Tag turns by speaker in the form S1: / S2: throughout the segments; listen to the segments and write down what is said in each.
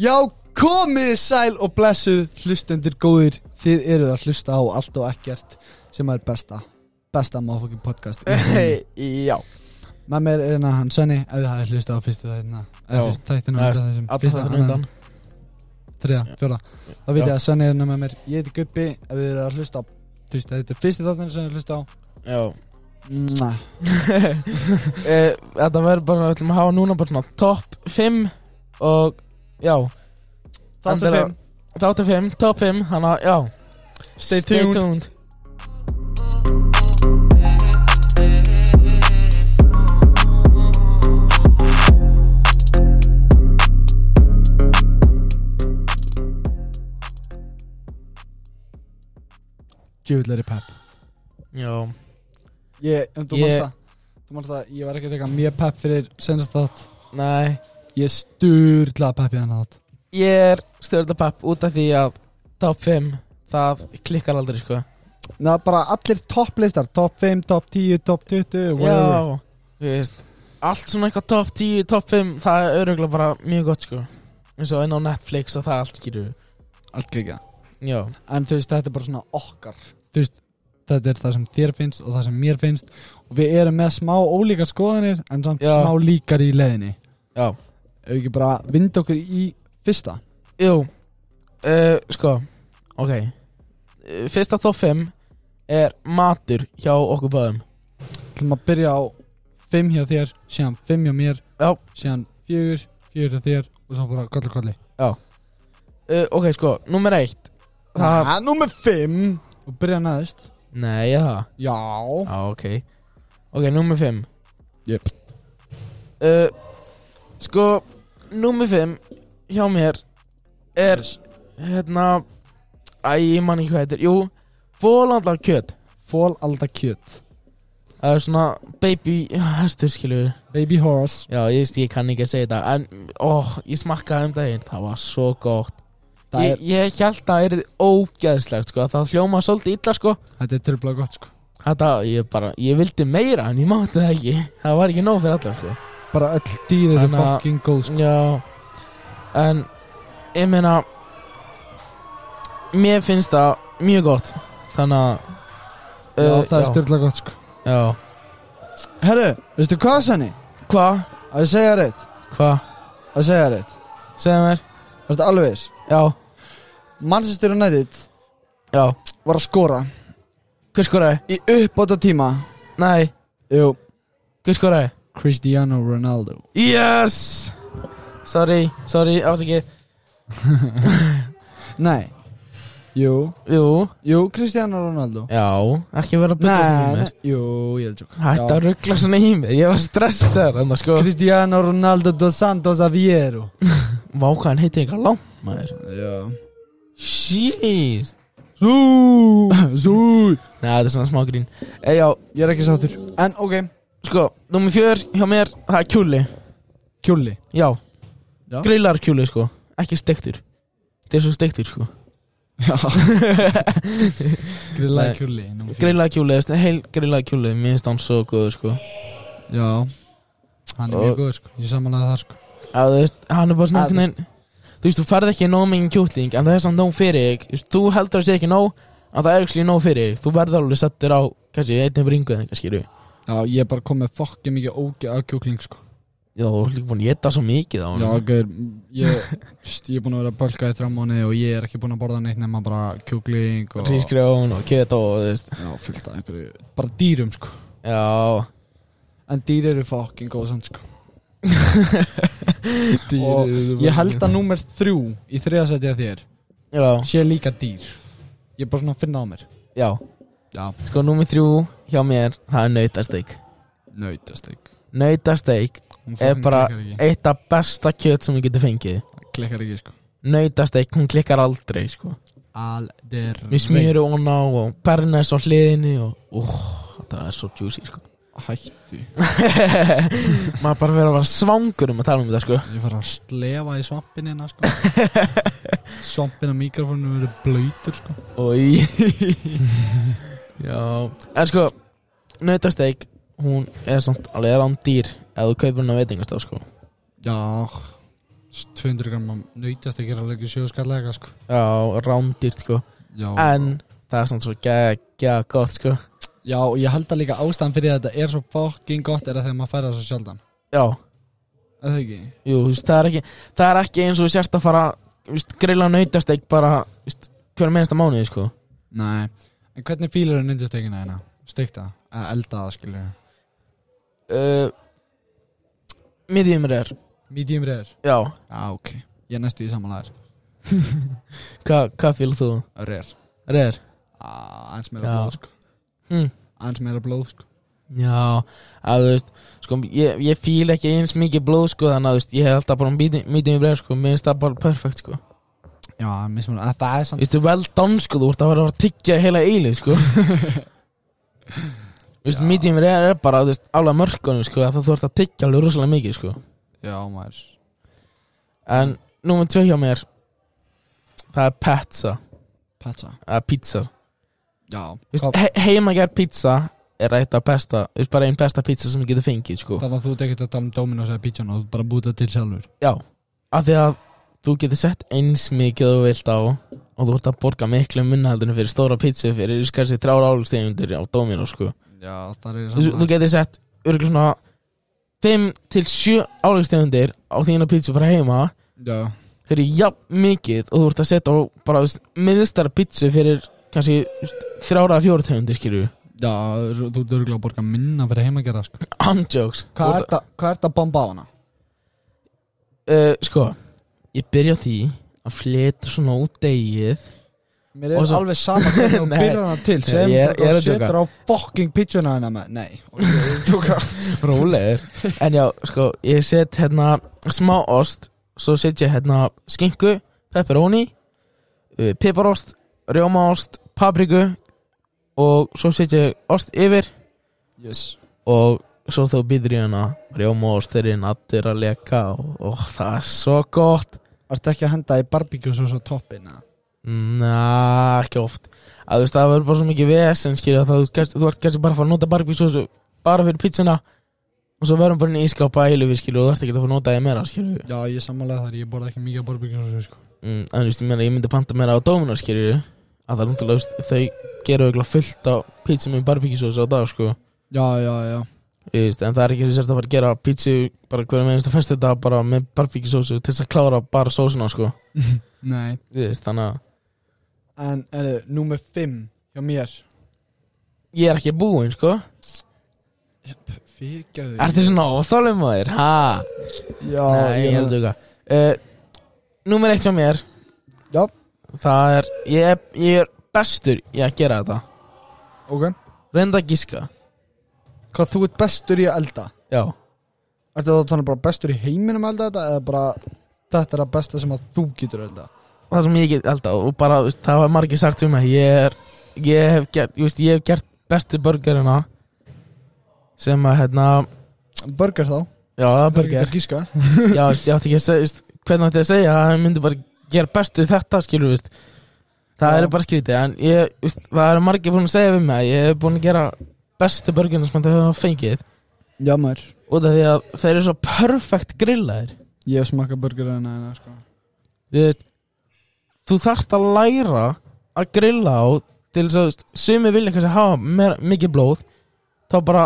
S1: Já, komið sæl og blessuð hlustendur góðir Þið eruð að hlusta á allt og ekkert sem er besta besta máfokkin podcast í heimi.
S2: Já,
S1: Með mér er hérna hann Svenni ef þið hafið hlusta á fyrstu þættina eða
S2: Já.
S1: fyrstu þættina
S2: Nei,
S1: undan þessum,
S2: alla
S1: fyrsta,
S2: þetta
S1: annan,
S2: undan
S1: þriða,
S2: Já.
S1: fjóra Þá veit
S2: Já.
S1: ég að Svenni er hérna með mér Ég heiti Gubbi ef þið eruð að hlusta á þú veist, Þetta er fyrstu þáttina sem þið hlusta á
S2: Já
S1: Mwah.
S2: Eh, Þetta verður bara, við ætlum að hafa núna bara svona top 5 og já,
S1: Þáttu
S2: Endilega.
S1: fimm
S2: þáttu 5, top 5, þannig að já
S1: Stay tuned. Djúvillari pepp
S2: Já,
S1: Ég, en þú
S2: Ég-
S1: mannst það Þú mannst það, ég var ekki að teka mjög pepp fyrir senast þátt
S2: nei,
S1: Ég sturla pepp í þennan þátt
S2: ég er stjórnarpapp út af því að top 5, það klikkar aldrei sko
S1: Ná, bara allir topplistar Top 5, top 10, top 20 whatever.
S2: Já, þú veist Allt svona eitthvað top 10, top 5 Það er öruglega bara mjög gott sko eins og einn á Netflix og það allt skýrur
S1: Allt ekki
S2: Já,
S1: En þú veist, þetta er bara svona okkar Þú veist, þetta er það sem þér finnst og það sem mér finnst Og við erum með smá ólíkar skoðanir En samt
S2: Já.
S1: smá líkar í leiðinni
S2: já
S1: Ef við ekki bara vinda okkur í fyrsta
S2: Jú, uh, sko Ok Eh, Fyrsta top 5 er matur hjá okkur báðum
S1: Þú maður byrja á 5 hjá þér, síðan 5 hjá mér
S2: Já.
S1: Síðan 4, 4 hjá þér Og svo bara kolli kolli
S2: uh, Ok, sko, nummer 1 það,
S1: Númer 5 Og byrja næðist
S2: Nei, já, það
S1: Já
S2: Já, ok Ok, nummer 5
S1: Jep.
S2: uh, Sko, nummer 5 hjá mér er hérna Æ, ég man ekki hvað þetta er Jú, fólanda kjöt
S1: Fól alda kjöt
S2: Það er svona baby hestur skilur við.
S1: Baby horse
S2: Já, ég veist, ég kann ekki að segja þetta En, ó, ég smakkaði um daginn Það var svo gott
S1: Það
S2: ég,
S1: er,
S2: ég held að það er ógeðslegt sko. Það hljóma svolítið illa sko
S1: Þetta er tröfla gott sko
S2: Þetta, ég bara, ég vildi meira En ég mátti það ekki Það var ekki nóg fyrir alla sko
S1: Bara öll dýr eru
S2: Þannig að-
S1: fucking góð sko
S2: Já En Ég meina Mér finnst það mjög gott Þannig að
S1: Eh, Já,
S2: uh,
S1: það er styrla gott sko
S2: Já
S1: Herru, veistu hvað senni?
S2: Hva?
S1: Að ég segja reitt
S2: Hva?
S1: Að segja reitt
S2: Segðu mér
S1: Veistu alveg þess
S2: Já
S1: Manchester United
S2: Já
S1: var að skora
S2: Hver skoraði?
S1: Í uppbóta tíma
S2: Nei
S1: Jú
S2: Hver skoraði?
S1: Cristiano Ronaldo
S2: Yes Sorry Sorry Afsakið
S1: Nei Jú
S2: Jú
S1: Jú, Cristiano Ronaldo
S2: Já Ekki vera að byggja svona í
S1: Nei,
S2: mér
S1: nei, jú, ég er að tjóka
S2: Hætti að ruggla svona í mér Ég var stressaður En það sko
S1: Cristiano Ronaldo dos Santos Aviero
S2: Vá hvað hann heiti eitthvað langt maður
S1: Já
S2: Jeez
S1: Sú Sú
S2: Nei þetta er svona smá grín Eh, Já
S1: Ég er ekki sáttur En ok
S2: Sko, nummer fjör hjá mér, það er kjúli
S1: Kjúli
S2: Já,
S1: Já.
S2: grillar kjúli sko Ekki stektur Þetta er svo stektur sko
S1: Já
S2: Grillaði
S1: kjúli
S2: Grillar kjúli, þú veist, heil grillar kjúli Mér finnst hann svo góður sko
S1: Já Hann er
S2: Og-
S1: mjög góð sko Ég samanlega það sko
S2: Já, þú veist, hann er bara svona
S1: Að-
S2: einhvern veginn Þú veist, þú færð ekki nóg mikið kjúling En það er samt nóg fyrir þig Þú veist, Þú heldur að sé ekki nóg En það er ekki nóg fyrir þig Þú verður alveg settur á, kannski, einnig bringu eða eitthvað skilju
S1: Já, ég er bara kom með fokkið mikið ógið að kjúkling sko
S2: Já, þú ert líka búin að geta svo mikið á hann
S1: Já, gauður, ég, pst, ég er búin að vera að bölka í þrjá mánuði og ég er ekki búin að borða neitt nema bara kjúkling og
S2: Rísgrjón og keto og þú veist
S1: Já, fullt af einhverju Bara dýrum sko
S2: Já
S1: En dýr eru fucking góð samt sko Og Ég held að númer þrjú í þriðasæti að þér
S2: Já,
S1: sé líka dýr Ég er bara svona að finna á mér
S2: já
S1: Já,
S2: Sko, númið þrjú hjá mér, það er nautasteik
S1: nautasteg
S2: Nautasteik er bara
S1: klikkar ekki,
S2: eitt af besta kjöt sem ég geti fengið
S1: klikkar ekki sko
S2: Nautasteik, hún klikkar aldrei, sko
S1: Alder
S2: Við smýru hún á og bernes á hliðinni og úh, þetta er svo juicy, sko
S1: Hættu
S2: Maður bara verið að vera svangur um að tala um þetta, sko
S1: Ég fara að slefa í svampinina sko Svampin og mikrofónu verður blöytur sko
S2: Og í Já, en sko, nautasteik, hún er samt alveg rán dýr Ef þú kaupir hún á veitingastaf, sko
S1: Já 200 gram að nautast ekki að leggja sjóskalla eitthvað sko
S2: Já, rándýrt sko
S1: já,
S2: En það er svona svo geggja gott sko
S1: já, ég held að líka ástæðan fyrir að þetta er svo fucking gott er að þegar maður færa það svo sjaldan
S2: Já,
S1: Er það ekki?
S2: jú, þú veist, það er ekki Það er ekki eins og þú sérst að fara þú veist, Grilla nautasteg bara þú veist, Hver mennsta mánuði sko
S1: Nei, en hvernig fílar er nautasteikina hérna? Steikta, eða elda það skilur
S2: uh, Miðjum er
S1: Medium rare
S2: Já,
S1: Já, ok Ég er næstu í samanlæðir
S2: hva, hvað fylg þú?
S1: Rare
S2: Rær?
S1: ah, Aðeins meira
S2: Já.
S1: blóð sko
S2: Hmm.
S1: Aðeins meira blóð sko
S2: Já, að þú veist sko, ég, ég fíl ekki eins mikið blóð sko þannig að þú veist, ég hef alltaf bara mítið mér bregð sko, mér finnst það bara perfekt sko
S1: Já, mismunum, að það er
S2: Þú
S1: samt
S2: veist, well done sko, þú ert að vera að tyggja heila eilið sko Þú veist,
S1: Já.
S2: mítið mér er bara, þú veist, alveg mörkunum sko að þú ert að tyggja alveg rosalega mikið sko
S1: Já, maður
S2: En númer tvö hjá mér Það er pizza,
S1: Pizza
S2: eða pizza
S1: Já,
S2: Þú
S1: Hvað-
S2: veist, he heimagerð pizza er eitt af besta, þú veist, bara einn besta pizza sem ég getur fengið sko
S1: Þannig að þú ert ekkert að tala um Dominos eða Pigeon og þú bara búið það til sjálfur
S2: Já, af því að þú getur sett eins mikið og þú vilt á og þú ert að borga miklu munnahaldinu fyrir stóra pizza fyrir kannski þrjára álustegundir á Domino sko.
S1: Já, það er
S2: Þú, þú getur sett örgulega svona 5 til 7 álustegundir á þína pizza frá heima
S1: Já,
S2: fyrir jafn mikið og þú ert að setja á bara þú veist, miðstara pizza fyrir kannski þrjára að fjóra tegundir skilju
S1: já, þú ert örgulega að borga minna fyrir heimagera sko
S2: Handjokes
S1: Hvað ert að- hvað ert að bomba á hana?
S2: Uh, sko, ég byrja á því að fleta svona út degið
S1: Mér
S2: Og
S1: er
S2: svo-
S1: alveg sama hvernig þú
S2: Nei.
S1: byrjar hana til
S2: Ég
S1: sem
S2: er- ég er að
S1: setur á fucking pigeona hana með Nei, tjóka
S2: Rólegur En já, sko, ég set hérna smá ost Svo set ég hérna skinku, pepperoni uh, Piparost, rjómaost, papriku Og svo set ég ost yfir
S1: Yes
S2: Og svo þú býður í hana Rjómaost, þeir eru nattir að leka og, og það er svo gott
S1: Ertu ekki að henda í barbecue svo svo toppin eða?
S2: Na, ekki oft að, þú veist, Það verður bara svo mikið vesen skilja, það, þú, kannski- þú ert kannski bara að fara að nota barbíksósu Bara fyrir pizzuna Og svo verðum bara inn í ískápa að heilu við skilju Og þú ert ekki að fara að nota það meira skilju
S1: Já, ég sammála þar, ég borða ekki mikið af barbecue svo sko
S2: mm, en þú veist, ég meina, ég myndi panta meira á Dominos, skilju að það er náttúrulega, þú veist, þau gerur eiginlega fullt á pizza með barbíkisósa á dag, sko
S1: Já, já, já
S2: Ég veist, en það er ekki þess að fara að gera pizza bara hverju meðinst að festi þetta bara með barbíkisósu til þess að klára bara sósuna, sko
S1: Nei
S2: Ég veist, þannig að
S1: En, erðu, númer 5 hjá mér
S2: ég er ekki búinn, sko
S1: Fyrirgæðu
S2: Er þetta svona óþálum að þér, ha?
S1: Já,
S2: Nei, ég held auka uh, Númer eitt hjá mér
S1: Já.
S2: Það er, ég er, ég er bestur í að gera þetta
S1: Ok
S2: Reynda að gíska,
S1: Hvað þú ert bestur í að elda?
S2: já
S1: Ertu þá þannig bara bestur í heiminum að elda þetta eða bara þetta er að besta sem að þú getur að elda?
S2: það sem ég get elda og bara, þú veist, það var margir sagt um að ég er ég hef gert, ég veist, ég hef gert bestu burgerina sem að, hérna,
S1: Burger þá?
S2: já,
S1: Það
S2: það er
S1: er ekki
S2: burger
S1: að gíska
S2: já, veist, ég átti ekki að segja, veist, hvernig átti ég að segja það myndi bara gera bestu þetta, skilur, veist það
S1: Já.
S2: er bara skrítið, en ég, veist, það er margir búin að segja við mig að ég hef búin að gera bestu burgerina sem það hefur fengið
S1: Já, maður
S2: út af því að þeir eru svo perfekt grillaðir
S1: Ég hef smakað burger en að sko
S2: þú veist þú þarft að læra að grilla á til þess að þú veist, sumi vilja kannski hafa meira, mikið blóð þá bara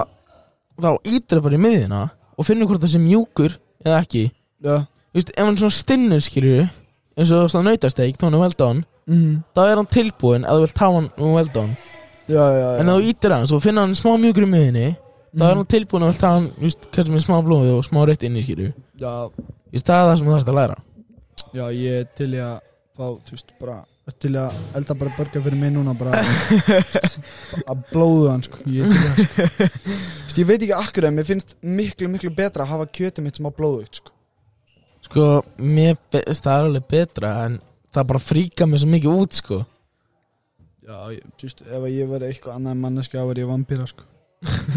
S2: þá ítur bara í miðina og finnur hvort það sé mjúkur eða ekki þú
S1: Já
S2: veist, ef hann er svona stinnur skilju eins og það nautasteik, þá hann er veldón
S1: mm.
S2: þá er hann tilbúin að þú vilt hafa hann um veldón
S1: Já, já, já Mhm.
S2: en ef þú ítir hann, svo finnur hann smá mjúkur í miðinni þá
S1: Mm.
S2: er hann tilbúin að þú vilt hafa hann þú veist, kannski með smá blóði og smá rétt inni skilju
S1: Já,
S2: það er það sem þú þarft að læra
S1: Já, ég er til í að fá, þú veist, bara er til í að elda bara burger fyrir mig núna bara að blóðu hann sko. ég er til í að sko. Þú veist, ég veit ekki akkur en mér finnst miklu, miklu betra að hafa kjötið mitt sem að blóðu sko.
S2: Sko, mér finnst það er alveg betra En það bara fríka mér svo mikið út, sko
S1: Já, ég, þú veist, ef ég verið eitthvað annað manneski þá verið ég vampýra sko.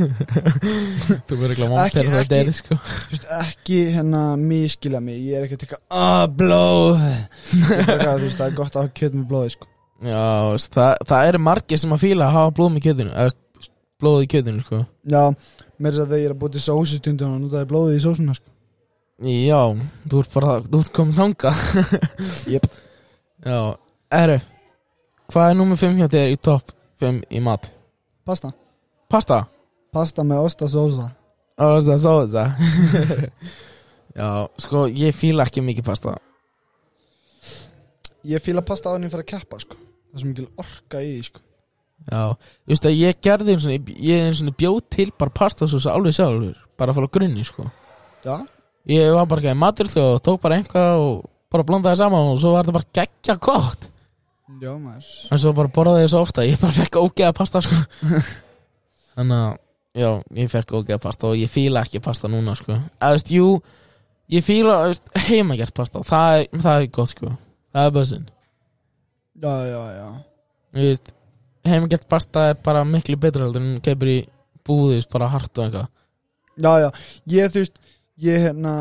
S2: Þú verður ekki
S1: vant
S2: vant
S1: Ekki- þegar
S2: þegar það
S1: það ekki-
S2: deyri,
S1: deyr,
S2: sko
S1: Þú veist, ekki hérna miskila mig ég er ekki að teka að blóð Ég er bara, þú veist, það er gott að hafa kjötið með blóði sko.
S2: Já, veist, það, það eru margir sem að fíla að hafa blóm í kjötinu eða, veist, Blóð í kjötinu, sko
S1: Já, mér er þess að þegar ég er að búti sósustundum og nú það er blóðið í sósuna sko.
S2: Já, þú ert bara, þú ert komin þanga
S1: Jep.
S2: Já, eru Hvað er nummer 5 hjá þér í topp 5 í mat?
S1: Pasta
S2: Pasta
S1: Pasta með ostasósa
S2: Og það svo það Já, sko, ég fíla ekki mikið pasta
S1: Ég fíla pasta áður en ég fyrir að keppa sko Það sem ekki orka í því sko
S2: Já, þú veist að ég gerði einu svona, ég einu svona bjóð til bara pasta svo alveg sjálfur, bara að fara á grunni sko.
S1: Já,
S2: Ég var bara ekki matur þau og tók bara einhvað og bara blandaði saman og svo var þetta bara geggja gott
S1: já maður
S2: en svo bara borðaði ég svo ofta, ég bara fekk ógeða pasta sko. þannig að já, ég fekk ógeða pasta og ég fíla ekki pasta núna sko. eða þú veist, jú ég fíla þú veist, heimagert pasta það er, það er gott sko, það er bössin
S1: Já, já, já
S2: Þú veist, heimagert pasta er bara miklu betra heldur en keipur í búðis bara hart og eitthvað
S1: Já, já, ég þú veist Ég hérna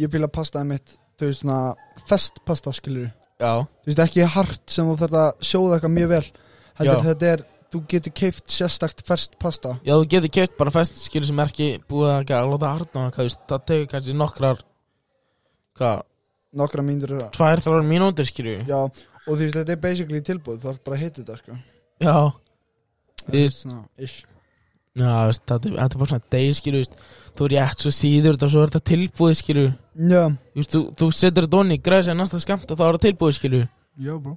S1: Ég fíla pastaði mitt Þú veist svona festpasta skilur
S2: Já,
S1: Þú veist ekki hart sem þú þarf að sjóða eitthvað mjög vel Heldur
S2: Já.
S1: þetta er Þú getur keift sérstakt ferst pasta
S2: já þú getur keft bara fest skilur sem er ekki búið að, að láta hartna hvað, þú veist, það tegur kannski nokkrar hvað,
S1: Nokkra mínútur Já,
S2: tvær, þrjár mínútur skilur já,
S1: og þú veist þetta er basically tilbúð Þú þarf bara að hita þetta sko
S2: já
S1: Það
S2: Ég-
S1: er svona, ish
S2: þú veist, þetta er- þetta er bara svona deg skilur þú veist, þú er rétt svo síður þetta og svo er þetta tilbúið skilur
S1: Já,
S2: þú, veist, þú, þú setur þetta onni, græðir sér næsta skammt og þá er það tilbúið skilur
S1: já bro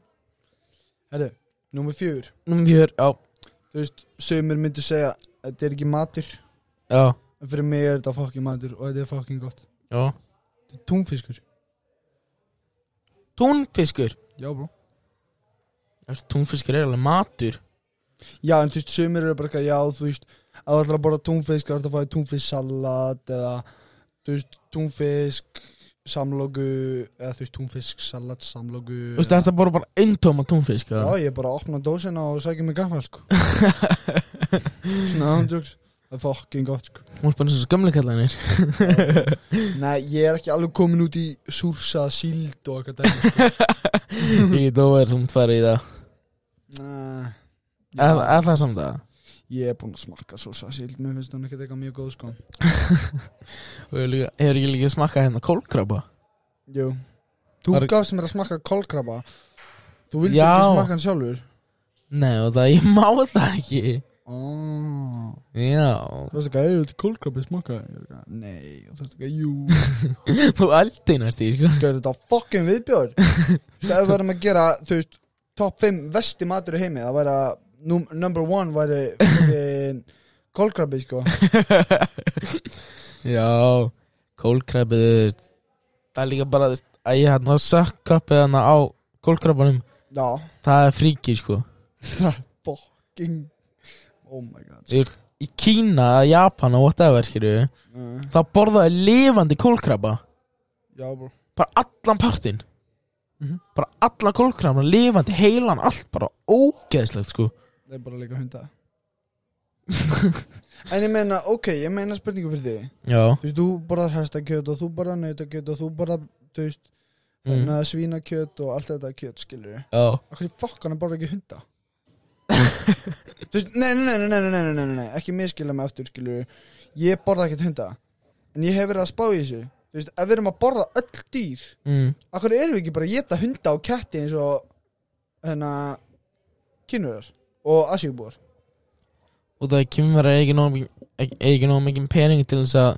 S1: Herru, númer fjögur
S2: Númer fjör, já,
S1: Þú veist, sömur myndu segja Þetta er ekki matur
S2: já,
S1: En fyrir mig er þetta fokkin matur og þetta er fokkin gott
S2: já
S1: Þetta er túnfiskur
S2: túnfiskur,
S1: Já bro
S2: Þú veist, túnfiskur er alveg matur
S1: Já, en þú veist, sömur eru bara eitthvað, já, þú veist að þú ætlar að borða túnfisk, þá ertu að fæða túnfisksalat eða, þú veist, túnfisk samlóku eða þú veist, túnfisk salat samlóku
S2: þú veist, þetta er bara bara eintóma túnfisk
S1: Já,
S2: já,
S1: ég er bara að opna dósina og sækja mig gaffal, sko Svona ándjóks Það er fokkin gott, sko
S2: hún er bara eins og skömmleikallanir
S1: Nei, ég er ekki alveg komin út í súrsa síld og eitthvað dæmi, sko.
S2: ég get ofar, þú mútt fara í það
S1: Nei,
S2: Er, er það samt það?
S1: Ég er búinn að smakka súrsa síld Mér finnst hún ekkert eitthvað mjög góð, sko
S2: Og hefur líka, hefur ekki líka smakkað hérna kólkrabba?
S1: Jú Þú
S2: Var-
S1: gafst mér að smakka kolkrabba Þú vildi
S2: Já.
S1: ekki smakka hann sjálfur
S2: Nei, og það, ég má það ekki
S1: oh.
S2: Já
S1: Þú veist ekki að auðvitað kolkrabbi smakka Ég er eitthvað, Nei, þú veist ekki að jú
S2: Þú eldinast í, sko
S1: Gjörðu þetta fokkin viðbjör Þú veist, ef við verðum að gera, þú veist Top 5 vesti matur í heimi Það væri að, num- number 1 væri fucking Kolkrabbi, sko
S2: Já Kólkrabbið, þú veist Það er líka bara, þú veist Að ég hérna sökkappið hérna á kólkrabbanum
S1: Já,
S2: Það er fríki, sko
S1: fokkin Oh my god
S2: Þú veist, Í Kína, eða Japan og whatever, skilju
S1: uh,
S2: Það borðaði lifandi kólkrabba
S1: Já, bro
S2: Bara allan partinn
S1: Mhm.
S2: Bara allan kólkrabba, lifandi, heilan, allt bara ógeðslegt, sko
S1: Það er bara líka hunda En ég meina, ok, ég meina spurningu fyrir þig
S2: Já
S1: Þú veist, þú borðar hestakjöt og þú borðar nautakjöt og þú borðar, þú veist,
S2: mm.
S1: mm. svínakjöt og allt þetta kjöt, skilur við.
S2: Já
S1: Akkur í fokkan að borða ekki hunda? þú veist, nei, nei, nei, nei, nei, nei, nei, nei, nei, nei, ekki miskilja mig aftur, skilur við. Ég borða ekkert hunda. En ég hef verið að spá í þessu. Þú veist, ef við erum að borða öll dýr,
S2: mm.
S1: akkur erum við ekki bara að geta hunda og ketti eins og, hérna, kynurðar og asjúbúar.
S2: og það kemur að ekki nóg mikið- e- ekki- ekki nóg mikið pening til þess að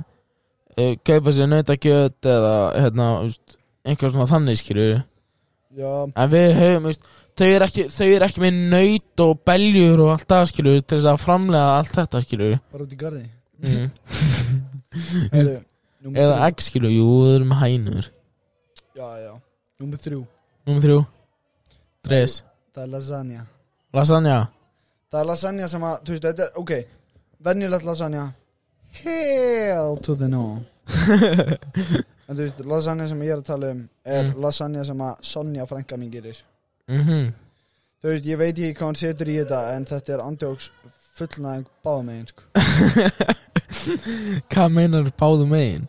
S2: uh, kaupa sér nautakjöt eða hérna, úst, einhver svona þannig skilur
S1: Já,
S2: en við höfum, úst, þau eru ekki, þau eru ekki með naut og beljur og allt það skilur til þess að framlega allt þetta skilur
S1: bara út í garði.
S2: mm.
S1: Heyrðu, númer
S2: eða
S1: þrjú.
S2: egg skilur, jú, þau eru með hænur
S1: Já, já, númer þrjú.
S2: nummer þrjú dress,
S1: Það er lasagna.
S2: lasagna
S1: Það er lasagna sem að, þú veist, þetta er, ok Venjulegt lasagna Hell to the no En þú veist, lasagna sem ég er að tala um Er
S2: Mm.
S1: lasagna sem að Sonja frænka mín gerir
S2: mhm
S1: Þú veist, ég veit ekki hvað hann setur í þetta En þetta er andjóks fullnæðing báða megin sko.
S2: hvað meinar báðu megin?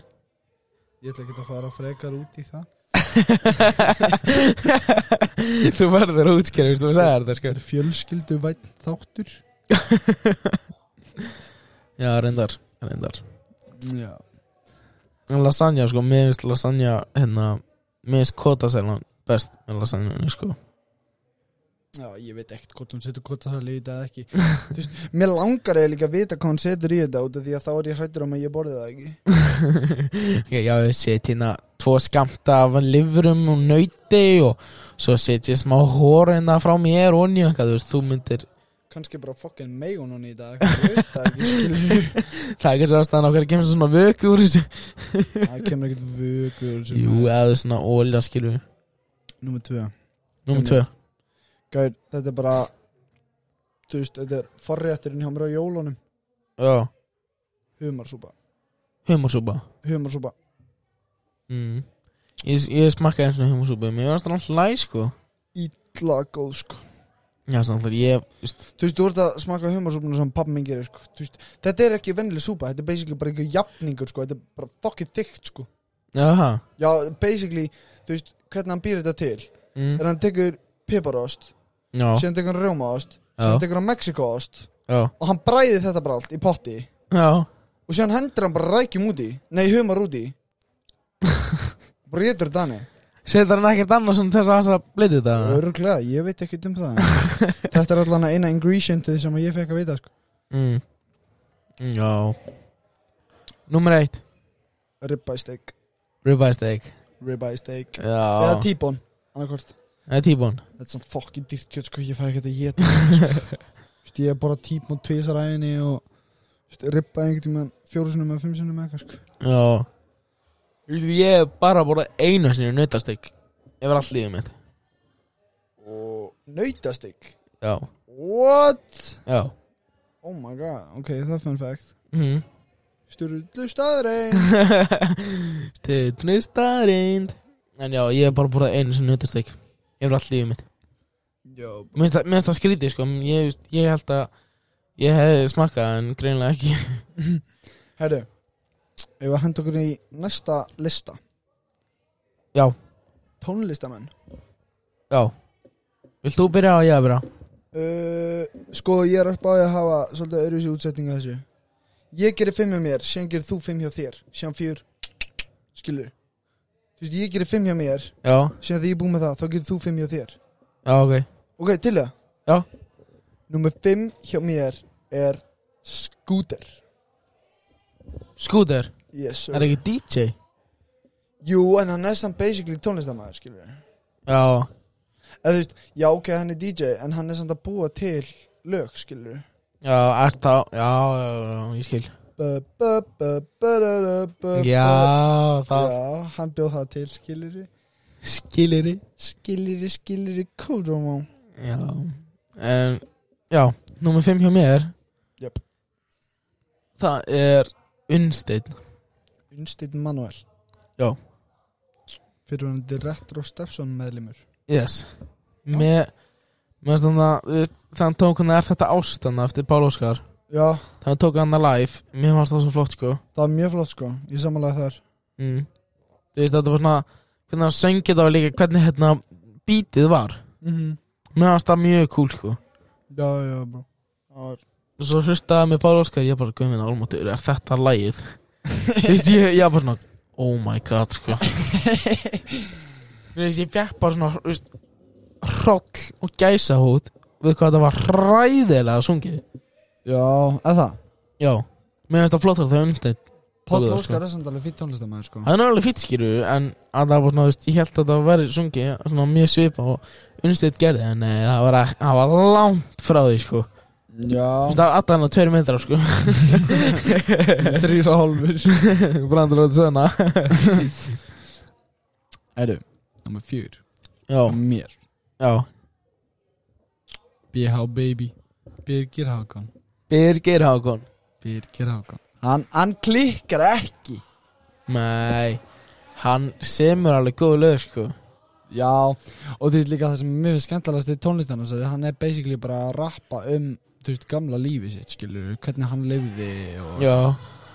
S1: Ég ætla ekki að fara frekar út í það
S2: þú verður að útskjæra, þú sagði þetta sko
S1: Það er fjölskyldu vænt þáttur
S2: já, reyndar, reyndar
S1: Já
S2: lasagna sko, mér finnst lasagna hérna, mér finnst kotaselan best með lasagna sko.
S1: Já, ég veit ekkert hvort hún setur hvort það lítið eða ekki Þú veist, Mér langar eða líka að vita hvað hún setur í þetta út af því að þá er ég hrættur um að ég borði það ekki
S2: ég, já, ég set hérna tvo skamta af lifurum og nöyti og svo set ég smá hóra hérna frá mér og nýja, þú veist, þú myndir
S1: Kannski bara fokkin meigun hún í dag Ég veit það ekki, skilur
S2: það er kannski ástæðan okkar að kemur svona vöku úr þessu
S1: Það kemur ekkert vökur sem-
S2: jú, eða svona ólja skilur
S1: Númer tvö
S2: nummer tvö
S1: Gær, þetta er bara Þú veist, þetta er forrétturinn hjá mér á jólunum
S2: já,
S1: Humarsúpa
S2: humarsúpa
S1: Humarsúpa
S2: mm. ég, ég smakkaði eins og humarsúpa mér finnst það alltaf læg sko
S1: Ítla góð, sko
S2: já, svona alltaf ég, veist,
S1: Þú veist, þú ert að smaka humarsúpuna sem pappi minn gerir, sko Þú veist, þetta er ekki vennileg súpa Þetta er basically bara einhver jafningur, sko Þetta er bara fokkin þykkt, sko
S2: jaha
S1: Já, basically, þú veist, hvernig hann býr þetta til
S2: mm.
S1: Er hann tekur piparost
S2: já,
S1: Síðan tekur hann rjómaost
S2: Já.
S1: Síðan tekur hann mexikoost
S2: já,
S1: Og hann bræði þetta bara allt í potti
S2: já
S1: Og síðan hendur hann bara rækjum úti Nei, humar úti Bara getur þetta hannig
S2: setur hann ekkert annars en þess að þess að bliti þetta
S1: Öruglega, ég veit ekkert um það Þetta er allan eina ingredientið sem ég fekk að vita sko.
S2: mm. já nummer eitt
S1: Ribeye steak
S2: ribeye steak
S1: Ribeye steak Eða
S2: já,
S1: tíbón Annarkvort
S2: það er tíbón
S1: Þetta er svona fokkin dýrt kjöt sko Ég fæ ekkert að geta sko. Þú veist, Ég er bara tíbón tvisar æðinni og þú veist, ribba einhvern tímann fjóru sinum eða fimm sinum eða eitthvað sko
S2: já ég hef bara borða einu sinni nautasteik yfir allt lífið mitt
S1: og nautasteik
S2: já,
S1: What?
S2: já
S1: Oh my god, ok, það er fun fact
S2: mm.
S1: Sturlu staðrein
S2: Stutnu staðrind En já, ég hef bara borðað einu sem nautastek Yfir allt lífið mitt
S1: Já,
S2: Mér finnst það- mér finnst það skrítið sko ég, veist, ég held að ég hefði smakkað en greinlega ekki
S1: herru Ef að henda okkur í næsta lista
S2: Já,
S1: Tónlistamenn
S2: já Vilt þú byrja á ég að byrja?
S1: uh, Sko, ég er upp á því að hafa svolítið öðruvísi útsetninga þessu Ég gerir fimm hjá mér, síðan gerir þú fimm hjá þér Síðan fjör Skilur Þú veist, ég gerir fimm hjá mér
S2: Já,
S1: Síðan því ég er búið með það, þá gerir þú fimm hjá þér
S2: já ok
S1: Ok, til það
S2: Já.
S1: Númer fimm hjá mér er Scooter
S2: Skúter,
S1: Yes, sir.
S2: er ekki DJ?
S1: Jú, en hann er samt basically tónlistamæður, skilur við
S2: Já,
S1: Eða þú veist, já ok, hann er DJ En hann er samt að búa til lög, skilur við
S2: já, ert þá Já, já, já, ég skil Já, það
S1: Já, hann bjóð það til, skilur við
S2: skilir
S1: Skilur við, skilur við, kóðrómá
S2: Já En, já, númer 5 hjá mér
S1: Jöp.
S2: Það er Unnsteinn
S1: Unstýtt Manuel
S2: Já.
S1: Fyrir hann direktor og Stefson meðlimur
S2: Yes Með Mér finnst þannig að hann tók hann er þetta ástanna eftir Pál Óskar
S1: Já,
S2: Þannig tók hann að live Mér fannst það svo flott sko
S1: það var mjög flott sko Ég samanlega þar
S2: mm. Þú veist þetta var svona Hvernig hann söngið það var líka Hvernig hérna bítið var
S1: mm
S2: Mér fannst það mjög cool sko
S1: Já, já, bro Það var
S2: Og Svo hlustaði með Pál Óskar Ég bara guð minna álmáttur Er þetta lagið Þú veist ég, ég var bara svona Oh my god sko Þú veist ég fekk bara svona þú veist, Hroll og gæsahút Við hvað þetta var hræðilega sungið
S1: Já, eða það
S2: Já, mér finnst það flottar þegar umstætt
S1: Páll
S2: Tók það, sko.
S1: Óskar er samt alveg fyrir tónlistamæður sko
S2: Það er alveg fýtt skýru En að það var svona, þú veist, ég held að það væri sungið Svona mjög svipa og umstætt gerði En e, það, var, ek- það var langt frá því, sko Þú
S1: Já
S2: veist, það var alltaf hann að tveir metrar, sko
S1: Þrýra hálfur
S2: Brandur átt svona
S1: Eru, nummer fjör
S2: Já,
S1: Mér
S2: já
S1: BH Baby Birgir Hákon
S2: Birgir Hákon
S1: Birgir Hákon Hann, hann klikkar ekki
S2: Nei, hann semur alveg góð lög, sko
S1: Já, og þú veist líka það sem mér finnst skemmtilegast í tónlistan hans er að Hann er basically bara að rappa um Þú veist, gamla lífi sitt, skilur Hvernig hann lifði og
S2: Já,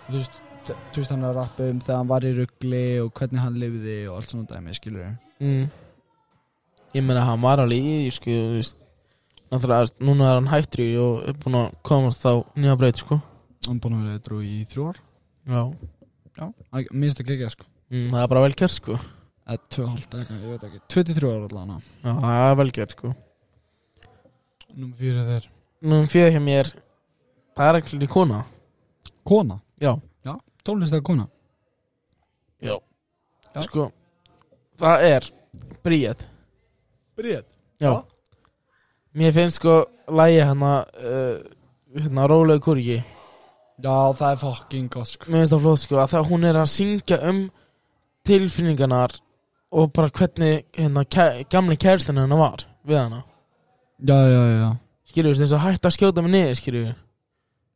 S1: Þú veist, þ- þú veist, hann er að rappa um þegar hann var í ruggli Og hvernig hann lifði og allt svona dæmi, skilur
S2: mm. Ég meina, hann var alveg í, því, sko þú veist, Náttúrulega, þú veist, núna er hann hættri Og er búin að komast þá nýja breyt, sko
S1: Hann er búin að vera eitthvað í þrjú ár
S2: Já
S1: já, að- minnst ekki ekki sko
S2: mm, Það er bara vel gert sko
S1: eða 2,5 eitthvað, ég veit ekki 23 ára allan
S2: Já, það er vel gert sko
S1: Númer 4 þeir
S2: Nú fyrir hjá mér Það er ekki kona
S1: Kona
S2: Já.
S1: Já, tónlistar kona Já.
S2: Sko Það er Bríet
S1: Bríð
S2: Já
S1: Já.
S2: Mér finnst sko Lægi hana uh, Hérna Rólegu kurgi
S1: Já, það er fucking gott sko
S2: Mér finnst það flott sko að það hún er að syngja um tilfinningarnar og bara hvernig hérna kæ, gamli kærstin hennar var við hana
S1: Já, já, já
S2: skilur þess að hætta að skjóta mig niður skilur já,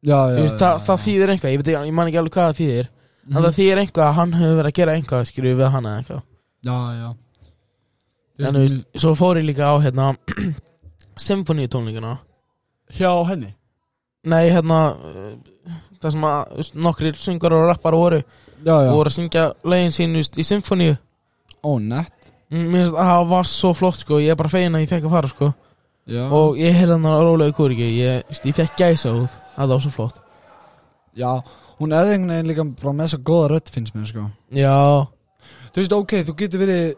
S1: Já, já, Mhm.
S2: veist, það, það þýðir einhvað, ég, veit ekki- ég man ekki alveg hvað það þýðir en það þýðir einhvað að hann hefur verið að gera einhvað skilur við hana eða eitthvað
S1: Já, já
S2: en þú veist, svo fór ég líka á hérna symfóníutónleikana
S1: Hjá henni
S2: nei hérna uh, það sem að þú veist, nokkrir syngar og rappar voru
S1: Já, já
S2: voru að syngja lögin sín þú veist, í symfóníu
S1: Ó, nett
S2: Mm, Mér finnst að það var svo flott sko Ég er bara fegin að ég fekk að fara sko
S1: Já,
S2: Og ég heyrði hann að rólega í kúriki Ég, veist, ég fekk gæsa út Það var svo flott
S1: já Hún er einhvern veginn líka bara með þess að góða rödd finnst mér sko
S2: Já,
S1: Þú veist, ok, þú getur verið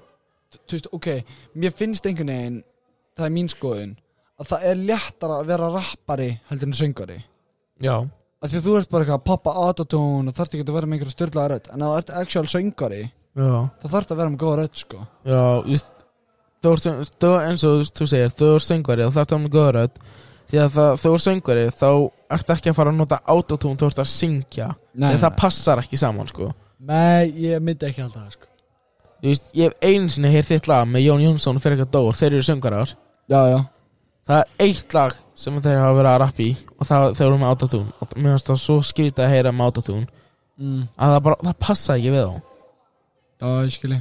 S1: Þú veist, ok, mér finnst einhvern veginn Það er mín skoðun Að það er léttara að vera rappari heldur en söngari
S2: já,
S1: að því að þú ert bara eitthvað að poppa autotune og þarf ekki að vera með einhverja styrlaða rödd en ef þú ert actual söngari
S2: já,
S1: þá þarf það að vera með góða rödd sko
S2: já þú veist, Þú ert sem- þú- eins og þú veist, þú segir Þú ert söngvari og það er það með góða rödd Því að það, þú ert söngvari Þá ert ekki að fara að nota autotune Þú ert að syngja
S1: nei,
S2: Þegar það passar ekki saman sko
S1: nei, ég myndi ekki alltaf sko
S2: Þú veist, Ég hef einu sinni heyrt þitt lag með Jón Jónsson Fyrir eitthvað dór, þeir eru söngarar
S1: já, já,
S2: Það er eitt lag sem þeir hafa verið að rappa í og það, þeir eru með autotune og mér finnst það svo skrítið að heyra með autotune
S1: mm.
S2: að það bara, það passa ekki við þá
S1: já, ég skilji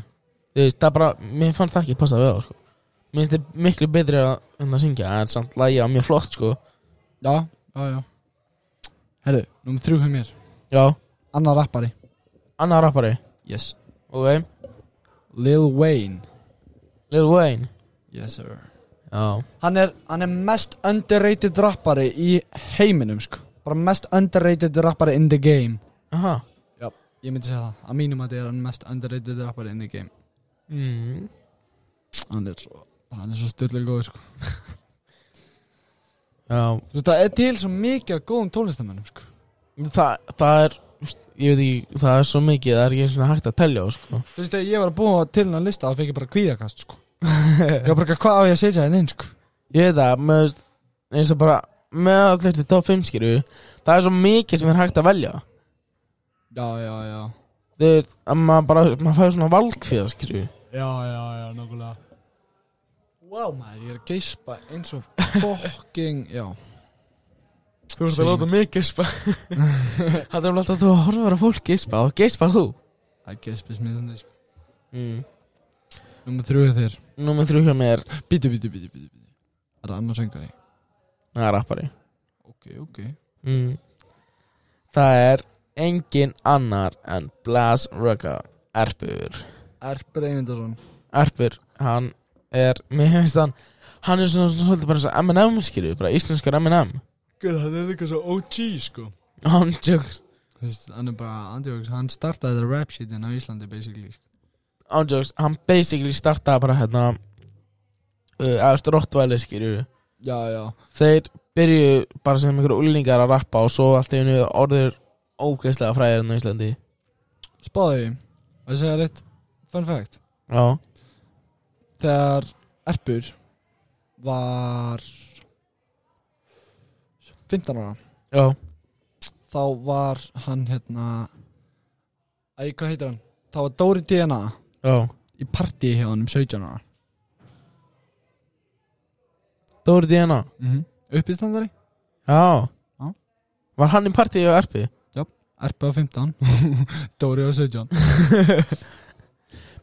S2: Þú veist, það bara, mér fannst það ekki passa við þá sko. mér finnst þið miklu betri að, en að syngja, en samt lagi á mjög flott sko.
S1: já, já, já herru, nummer þrjú hjá mér
S2: já,
S1: annar rappari
S2: annar rappari
S1: yes.
S2: ok,
S1: Lil Wayne
S2: Lil Wayne
S1: yes, sir
S2: já,
S1: hann er, hann er mest underrated rappari í heiminum sko bara mest underrated rappari in the game
S2: aha
S1: já, ég myndi segja það að mínum að þetta er hann mest underrated rappari in the game
S2: mm.
S1: hann er svo, hann er svo styrlega góð sko
S2: já,
S1: Þú veist, það er til svo mikið af góðum tónlistamönnum, sko.
S2: það, það er þú veist, ég veit ekki, það er svo mikið það er ekki einu sinni hægt að telja á, sko.
S1: Þú veist, þegar ég var að búa til hennar lista, þá fekk ég bara kvíðakast, sko. ég var bara ekki, hvað á ég að setja henni inn, sko?
S2: ég veit það, með þú veist, eins og bara með allir til top 5 skilju það er svo mikið sem er hægt að velja
S1: Já, já, já.
S2: þú veist, að maður bara, maður fæður svona valgfjöð skilju
S1: Já, já, já, nokkulega. Wow, maður, ég er að geispa eins og fucking, já.
S2: Þú
S1: ert að láta
S2: mig geispa Það er alltaf að þú horfir að fólk geispa og geispar þú
S1: Það geispis með þannig, sko.
S2: mm.
S1: Númer þrjú er þér.
S2: Númer þrjú hjá mér
S1: Bítu, bítu, bítu, bítu, bítu. Er það annars söngari?
S2: Það er rappari
S1: Ok, ok.
S2: mm. Það er engin annar en Blas Rugga Erpur
S1: Erpur Eyvindarsson.
S2: Erpur, hann er Mér finnst hann Hann er svona, svona svolítið bara svo M&M skilju Bara íslenskur M&M
S1: Guð, hann er líka svo OG, sko.
S2: Hann tjókur
S1: Þú veist, hann er bara, andjóks, hann startaði þetta rap shitin á Íslandi, basically, sko.
S2: Ándjóks, hann basically startaði bara hérna uh, Æðust Rottvæli skilju
S1: Já, já.
S2: þeir byrju bara sem einhverju úlningar að rappa og svo allt í hennu orður ógeðslega fræðir enn á Íslandi
S1: Spáði því Og ég segja rétt Fun fact
S2: Já,
S1: Þegar Erpur Var 15 ára
S2: já,
S1: Þá var hann hérna Æ, hvað heitir hann? Þá var Dóri DNA
S2: já
S1: Í partí hjá hann um 17 ára
S2: Dóri DNA
S1: mm -hmm. Uppistandari
S2: Já
S1: Já.
S2: Var hann í partíu á Erpi?
S1: Erpur á 15 Dóri á 17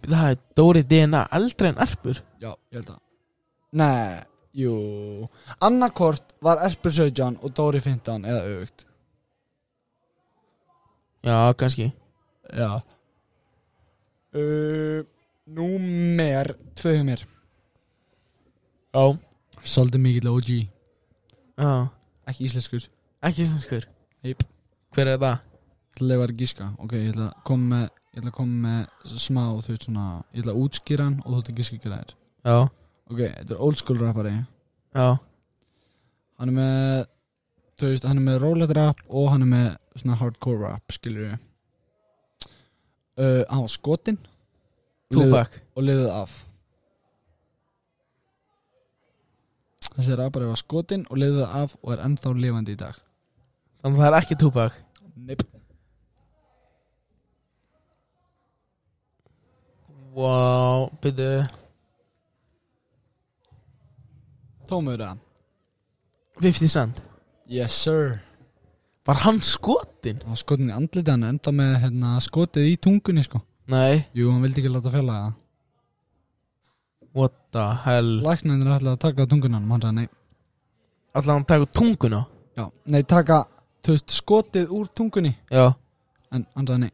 S2: Það er Dóri DNA eldri en Erpur
S1: Já, ég held að Nei, jú Annarkort var Erpur 17 og Dóri 15 eða auðvögt
S2: Já, kannski
S1: Já uh, Númer Tvö hjá mér
S2: Já,
S1: Svolítið mikill OG
S2: já
S1: Ekki íslenskur
S2: Ekki íslenskur
S1: Jep.
S2: Hver er það?
S1: til að vera gíska ok, ég ætla að koma með ég ætla að koma með smá þú veist svona ég ætla að útskýra hann og þú ætla að gíska hvað það er
S2: Já,
S1: ok, þetta er old school rappari
S2: já,
S1: hann er með þú veist, hann er með rólegt rap og hann er með svona hardcore rap, skilur við uh, hann var skotin og lifði-
S2: Tupac
S1: og lifið af þessi rapari var skotin og lifið af og er ennþá lifandi í dag
S2: Þannig að það er ekki Tupac
S1: Neip.
S2: Wow, byrju
S1: tómur það
S2: 50 Cent
S1: yes sir
S2: Var hann skotin?
S1: hann var skotin í andliti hann enda með hérna, skotið í tungunni sko
S2: Nei
S1: jú, hann vildi ekki láta fela það
S2: What the hell
S1: læknarnir ætlaði að taka tungunan hann sagði nei
S2: Alltaf hann taka tunguna
S1: Já, nei, taka, þú veist, skotið úr tungunni
S2: Já
S1: En hann sagði nei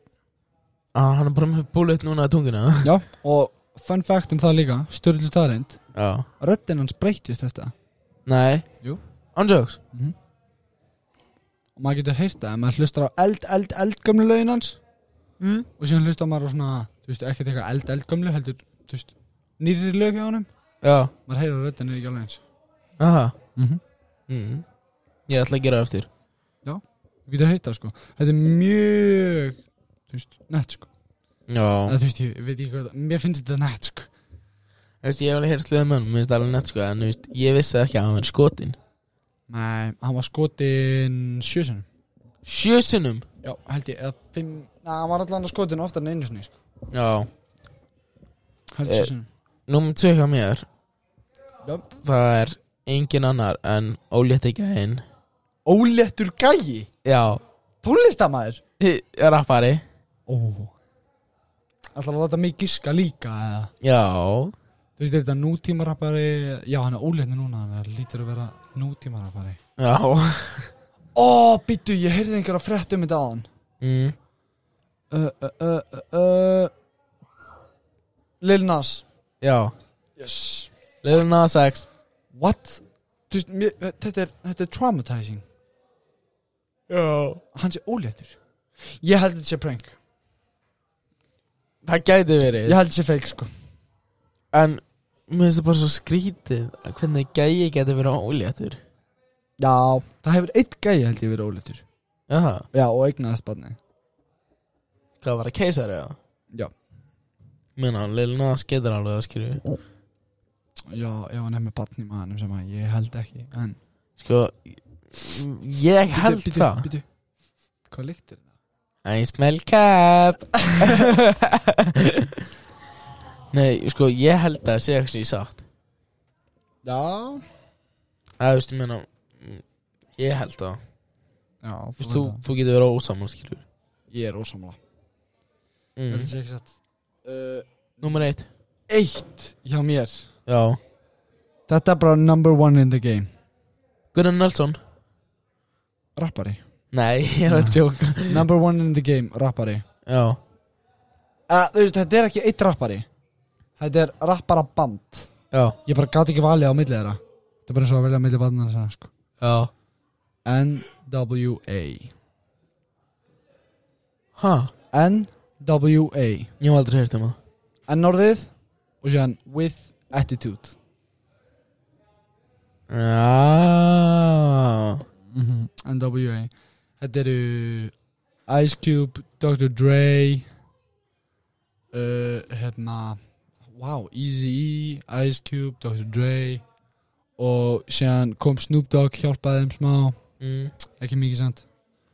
S2: ah, Hann er bara með búlut núna að tunguna
S1: Já, og fun fact um það líka Störlu staðreind
S2: Já
S1: Röddinn hans breyttist eftir það
S2: Nei
S1: Jú.
S2: Andjóks
S1: Og maður getur heyrt það En maður hlustar á eld, eld, eldgömlu lögin hans
S2: mm.
S1: Og síðan hlustar maður á svona Þú veist, ekkert eitthvað eld, eldgömlu Heldur, þú veist, nýri lög hjá honum
S2: Já
S1: Maður heyrir að röddinn er ekki alveg eins
S2: Aha
S1: mm -hmm.
S2: mm. Ég ætla að gera það eftir
S1: Getur heyrt það, sko Þetta er mjög, þú veist, nett, sko
S2: Já
S1: Eða, Þú veist, ég veit ekki hvað það Mér finnst þetta nett, sko
S2: Þú veist, ég hef alveg heyrt sluðið mönnum, mér finnst það alveg nett sko, en þú veist, ég vissi ekki að hann verið skotin.
S1: Nei, hann var skotin sjösunum
S2: Sjö sinnum?
S1: Já, held ég, eða fimm Næ, hann var allan að skotin oftar en einu sinni sko.
S2: Já.
S1: Held
S2: Eh.
S1: ég sinni
S2: Númer tvö hjá mér,
S1: Já.
S2: það er engin annar en ólétt ekki að hinn.
S1: Óléttur gæi,
S2: Já,
S1: tónlistamæður
S2: hi- rappari.
S1: Ó Ætlar að láta mig giska líka eða
S2: Já.
S1: Þú veist, er þetta nútímarappari Já, hann er óléttur núna, hann lítur að vera nútímarappari
S2: Já.
S1: Ó, býttu, ég heyrði einhverja frétt um þetta aðan
S2: Mm.
S1: uh, uh, uh, uh, uh. Lil Nas
S2: Já.
S1: Yes
S2: Lil Nas X.
S1: What? Þú veist, mér, þetta, er, þetta er traumatizing
S2: Já.
S1: Hann sé óléttur Ég held þetta sé prank
S2: Það gæti verið.
S1: Ég held þetta sé fake sko
S2: En, mér finnst það bara svo skrítið að hvernig gæi geti verið óléttur.
S1: Já, það hefur eitt gæi held ég verið óléttur
S2: Já.
S1: Já, og eignaðist barni
S2: Hvað var það, keisari eða?
S1: Já.
S2: Meina, Lil Nas getur alveg að skrifa.
S1: Já, ef hann er með barni í maðanum sem að ég held ekki En
S2: Sko Ég held
S1: Bíddu, bíddu,
S2: það
S1: bíddu. Hvað líktir það?
S2: I smell cap Nei, sko, ég held að segja ekki satt
S1: Já
S2: Það, þú veist, ég meina mm, Ég held það Þú,
S1: Já,
S2: veist, þú, þú getur verið ósaman, skilur
S1: Ég er ósamla Ég held
S2: mm.
S1: þetta sé ekki satt uh,
S2: Númer eitt
S1: Eitt hjá mér
S2: Já
S1: Þetta er bara number one in the game
S2: Gunnar Nelson
S1: Rappari
S2: Nei, ég er að tjóka
S1: Number one in the game, rappari
S2: Já
S1: uh, Þú veist, þetta er ekki eitt rappari Þetta er rapparaband
S2: Já
S1: Ég bara gat ekki valið á milli þeirra Þetta er bara eins og að velja á milli barnarna sinna, sko
S2: Já
S1: NWA
S2: Ha
S1: NWA
S2: Ég hef aldrei heyrt um það
S1: N-orðið og séðan With Attitude
S2: Já
S1: Mhm. NWA Þetta eru Ice Cube, Dr. Dre uh, hérna Wow, Eazy-E Ice Cube, Dr. Dre og séðan kom Snoop Dogg hjálpaði þeim smá,
S2: mm.
S1: ekki mikið samt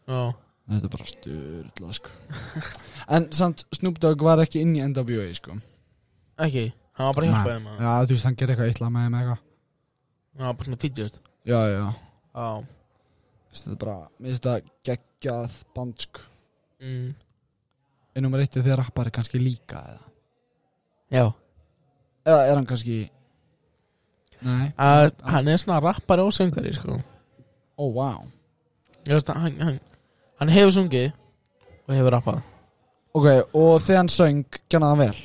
S2: Já
S1: Þetta er bara styrla sko En samt Snoop Dogg var ekki inn í NWA sko
S2: Ekki Hann var bara að hjálpa þeim að-
S1: Já, þú veist, hann gerði eitthvað eitthvað með þeim eitthvað
S2: Hann var bara svona fidget
S1: Já, já,
S2: Já
S1: Þess, þetta er bara, mér finnst þetta geggjað band sko
S2: mm.
S1: En nummer eitt er þegar rappar er kannski líka eða
S2: Já
S1: Eða er hann kannski Nei,
S2: að hann er svona rappari og söngari sko
S1: ó oh, wow
S2: ég veist að hann, hann, hann hefur sungið og hefur rappað
S1: Ok, og þegar hann söng, gerði hann vel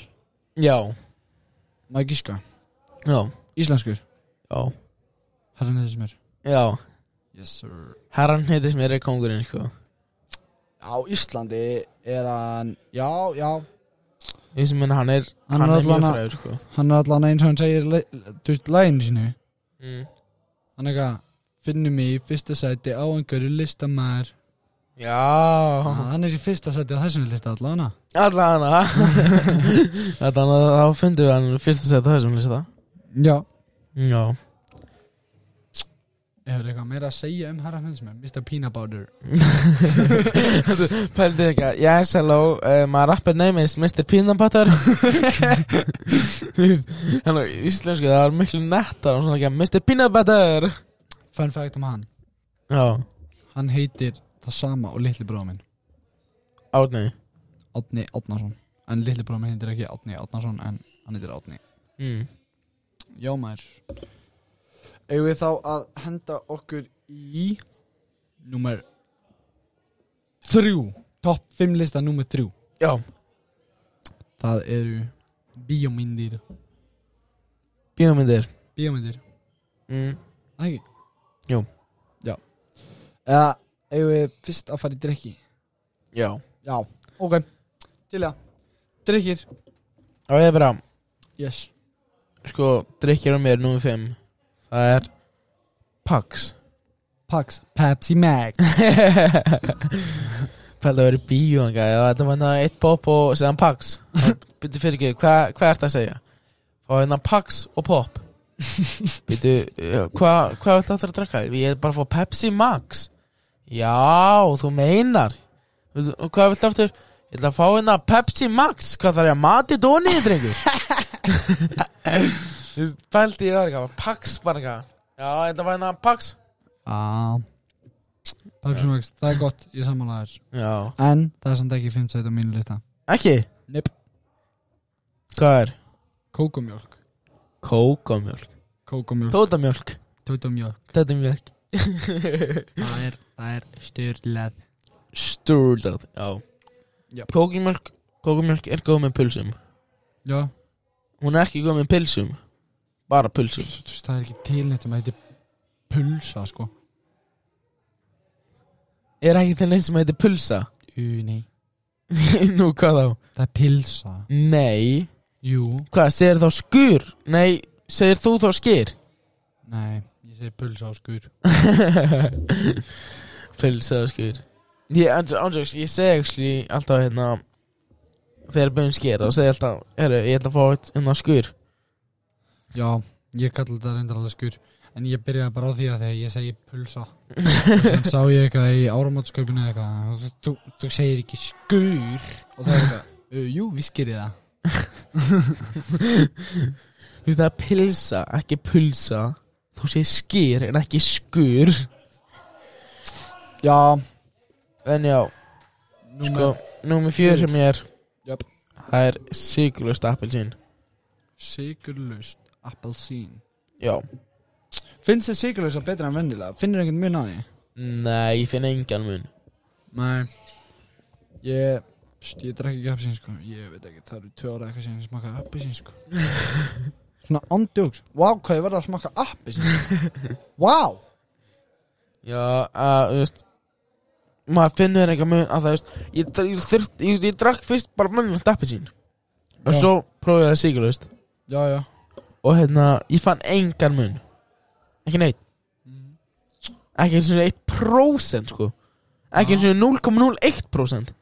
S2: já,
S1: Má ég gíska,
S2: já,
S1: íslenskur
S2: já,
S1: Herran þessi mér
S2: já
S1: Yes sir
S2: herran heitir sem er kongurinn sko
S1: á Íslandi er hann já, já,
S2: Ég sem minna hann er
S1: Hann
S2: Hann,
S1: er
S2: er mjög
S1: allan að-
S2: fræður sko
S1: hann er allan eins og hann segir le- þú veist, læginu sínu
S2: mm.
S1: hann er eitthvað, finnum mig í fyrsta sæti á einhverju listamæður
S2: Já
S1: hann er í fyrsta sæti á þessum lista allan
S2: Allan að Þetta hann að þá fundum við hann Fyrst að segja það sem lýsa
S1: já,
S2: það Já
S1: hefur eitthvað meira að segja um herra hinsmenn, Mr. Peanut Butter
S2: Pældið ekki að Yes, hello, uh, my rapper name is Mr. Peanut Butter Þú veist, Hann á íslensku Það var miklu nettar og svona ekki að Mr. Peanut Butter
S1: fun fact um hann,
S2: Já,
S1: hann heitir það sama og litli bróða minn
S2: átni
S1: Átni Átnason En litli bróðum heitir ekki Átni Átnason En hann heitir Átni
S2: mm.
S1: Já maður Eigum við þá að henda okkur í Númer Þrjú Topp 5 lista númer þrjú
S2: Já,
S1: Það eru Bíómyndir
S2: bíómyndir
S1: Bíómyndir
S2: mm.
S1: Það ekki?
S2: Jú.
S1: Já Eða eigum við fyrst að fara í drikki
S2: Já
S1: Já Ok Til að Drikkir
S2: Og ég er bara,
S1: Yes
S2: sko, drikkir á mér Númer 5 Það er Pax
S1: Pax Pepsi Max
S2: Pældið að vera í bíó þangað, já, Þetta var hérna eitt pop og séðan Pax Byttu fyrir ekki, hvað hva ert að segja? Fá hérna Pax og pop Byttu, hvað hva ætla að drakka? Ég er bara að fá Pepsi Max Já, þú meinar Viltu- og Hvað viltu aftur? Ég ætla að fá hérna Pepsi Max Hvað þarf ég að mati dónið, drengur? Pældið ég var eitthvað Pax bara eitthvað Já, þetta var hérna Pax
S1: Já Pepsi Max, það er gott, ég sammála þér
S2: Já,
S1: En það er samt ekki 5 sæti á mínu lista
S2: ekki
S1: Nip
S2: Hvað er?
S1: Kókumjólk
S2: Kókomjólk
S1: Kókumjólk
S2: Tótamjólk
S1: Tótumjólk
S2: Þetta er mjölk
S1: Það er, það er styrlað
S2: Stúrlað, já
S1: Jep.
S2: Kókumjölk, kókumjölk er góð með pulsum
S1: Já
S2: Hún er ekki góð með pilsum Bara pulsum
S1: Þú veist, það er ekki tilnætt um að þetta pulsa, sko
S2: Er ekki til neitt sem heitir pulsa?
S1: Ú, nei
S2: Nú, hvað þá?
S1: Það er pilsa
S2: Nei
S1: Jú
S2: Hvað, segir þá skur? Nei, segir þú þá skýr?
S1: Nei, ég segi pulsa á skur
S2: pulsa og skur Ég, ándjóks, ég segi actually alltaf hérna Þegar bauðum skýr og segi alltaf Herru, ég ætla að fá eitt hérna skur
S1: Já, ég kalla þetta reyndar alveg skur En ég byrjaði bara á því að þegar ég segi pulsa Og Þannig sá ég eitthvað í áramátskaupinu eitthvað þú- Þú, þú segir ekki skur Og það er eitthvað "Ö, Jú, við skýrið það
S2: Þú veist það er pilsa, ekki pulsa Þú segir skýr en ekki skur
S1: Já,
S2: En já, sko,
S1: númer
S2: númer fjör sem ég er
S1: Jöp.
S2: Það er sigurlust appelsín
S1: Sigurlaust appelsín
S2: Já
S1: Finnst þið sigurlausa betra en vennilega? Finnir einhvern mun á því?
S2: Nei, ég finn engan mun
S1: Nei Ég, st, ég drekki ekki appelsín sko Ég veit ekki, það eru tvö ára eitthvað sem ég smaka appelsín sko Svona andjóks Vá, hvað ég verða að smaka appelsín Vá
S2: Já, að, þú veist Maður finnur engan mun að það, þú veist Ég, dr- ég þurft, ég, ég, ég drakk fyrst bara mönnult appelsín Og
S1: Já.
S2: svo prófaði ég það sigurlust
S1: Já, já
S2: Og hérna, ég fann engan mun Ekki neitt Ekki eins og 1% sko Ekki eins og 0,01%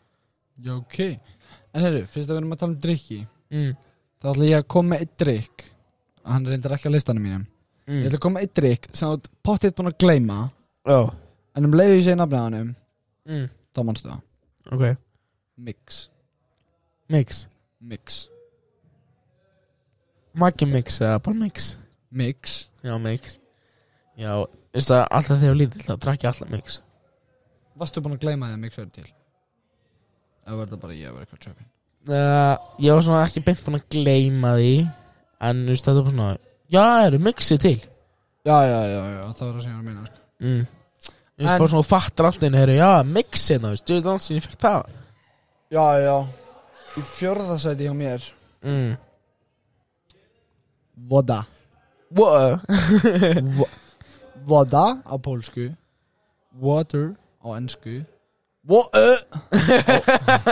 S1: Já, ok En herru, fyrst að við erum að tala um drikki
S2: mm.
S1: Þá ætla ég að koma með eitt drikk Hann reyndar ekki á listanum mínum Ég
S2: Mm.
S1: ætla að koma með eitt drikk sem þú pottið búin að gleyma
S2: Já
S1: En um leiðu ég segi nafnið á hannum
S2: mm.
S1: Þá mannstu það
S2: Ok
S1: Mix
S2: Mix
S1: Mix
S2: Maggi mix eða bara mix
S1: Mix
S2: Já mix Já Veistu að alltaf þegar ég var lítill þá drakk ég alltaf mix
S1: Varstu búin að gleyma því að mix verður til? Eða verður það bara ég að vera eitthvað tröfin?
S2: uh, Ég var svona ekki beint búin að gleyma því En þú veist þetta var svona Já eru mixið til
S1: Já, já, já, já, það var það sem ég var að meina sko.
S2: mm. Ég veist
S1: En-
S2: bara svona þú fattar alltaf einu heyrðu, Já mixið það veist Þú veist alls sem ég fekk það
S1: Já, já Í fjörðasæti hjá mér
S2: mm.
S1: Voda
S2: What?
S1: Voda á pólsku Water á ennsku What a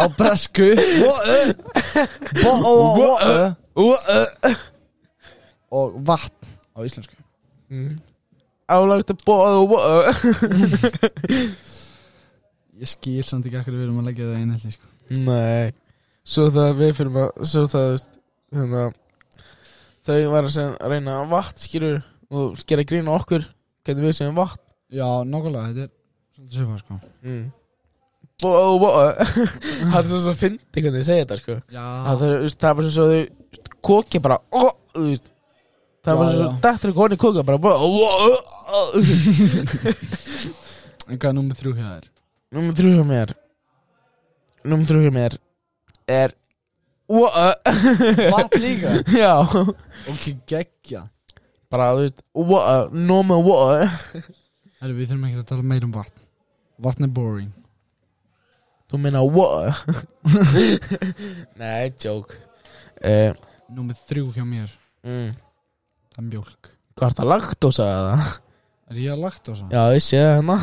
S1: Á bresku What a What a What a Og vatn á íslensku
S2: Mm. I would like to boil water
S1: Ég skil samt ekki akkur við erum að leggja það einhelti sko.
S2: Nei Svo það við fyrir að Svo það þú veist, hérna, Þau var að segja- reyna að vatn skýrur Og skera grína okkur Hvernig við segjum vatn
S1: Já, nokkulega, þetta er Svolítið söpa sko
S2: mm. Boil water oh. Það er svo svo fyndi hvernig þið segja þetta sko
S1: Já,
S2: Það er, þú veist, það er bara svo þau þú veist, Koki bara ó, þú veist, Það er bara
S1: Já,
S2: svo
S1: já.
S2: Dættur í koni koka bara oh, boil water
S1: en hvað er nummið þrjú hjá þér?
S2: Númer þrjú hjá mér Númer þrjú hjá mér Er What?
S1: Vatn líka
S2: Já
S1: Ok, geggja
S2: Bara þú veist oh. What? Númer what?
S1: Herru, við þurfum ekki að tala meir um vatn Vatn er boring
S2: Þú meina what? Nei, joke uh,
S1: Nummið þrjú hjá mér
S2: mm,
S1: Það er mjólk
S2: Hvað er það lagt og sagði það?
S1: Er ég að lagt á það?
S2: Já, ég sé það hérna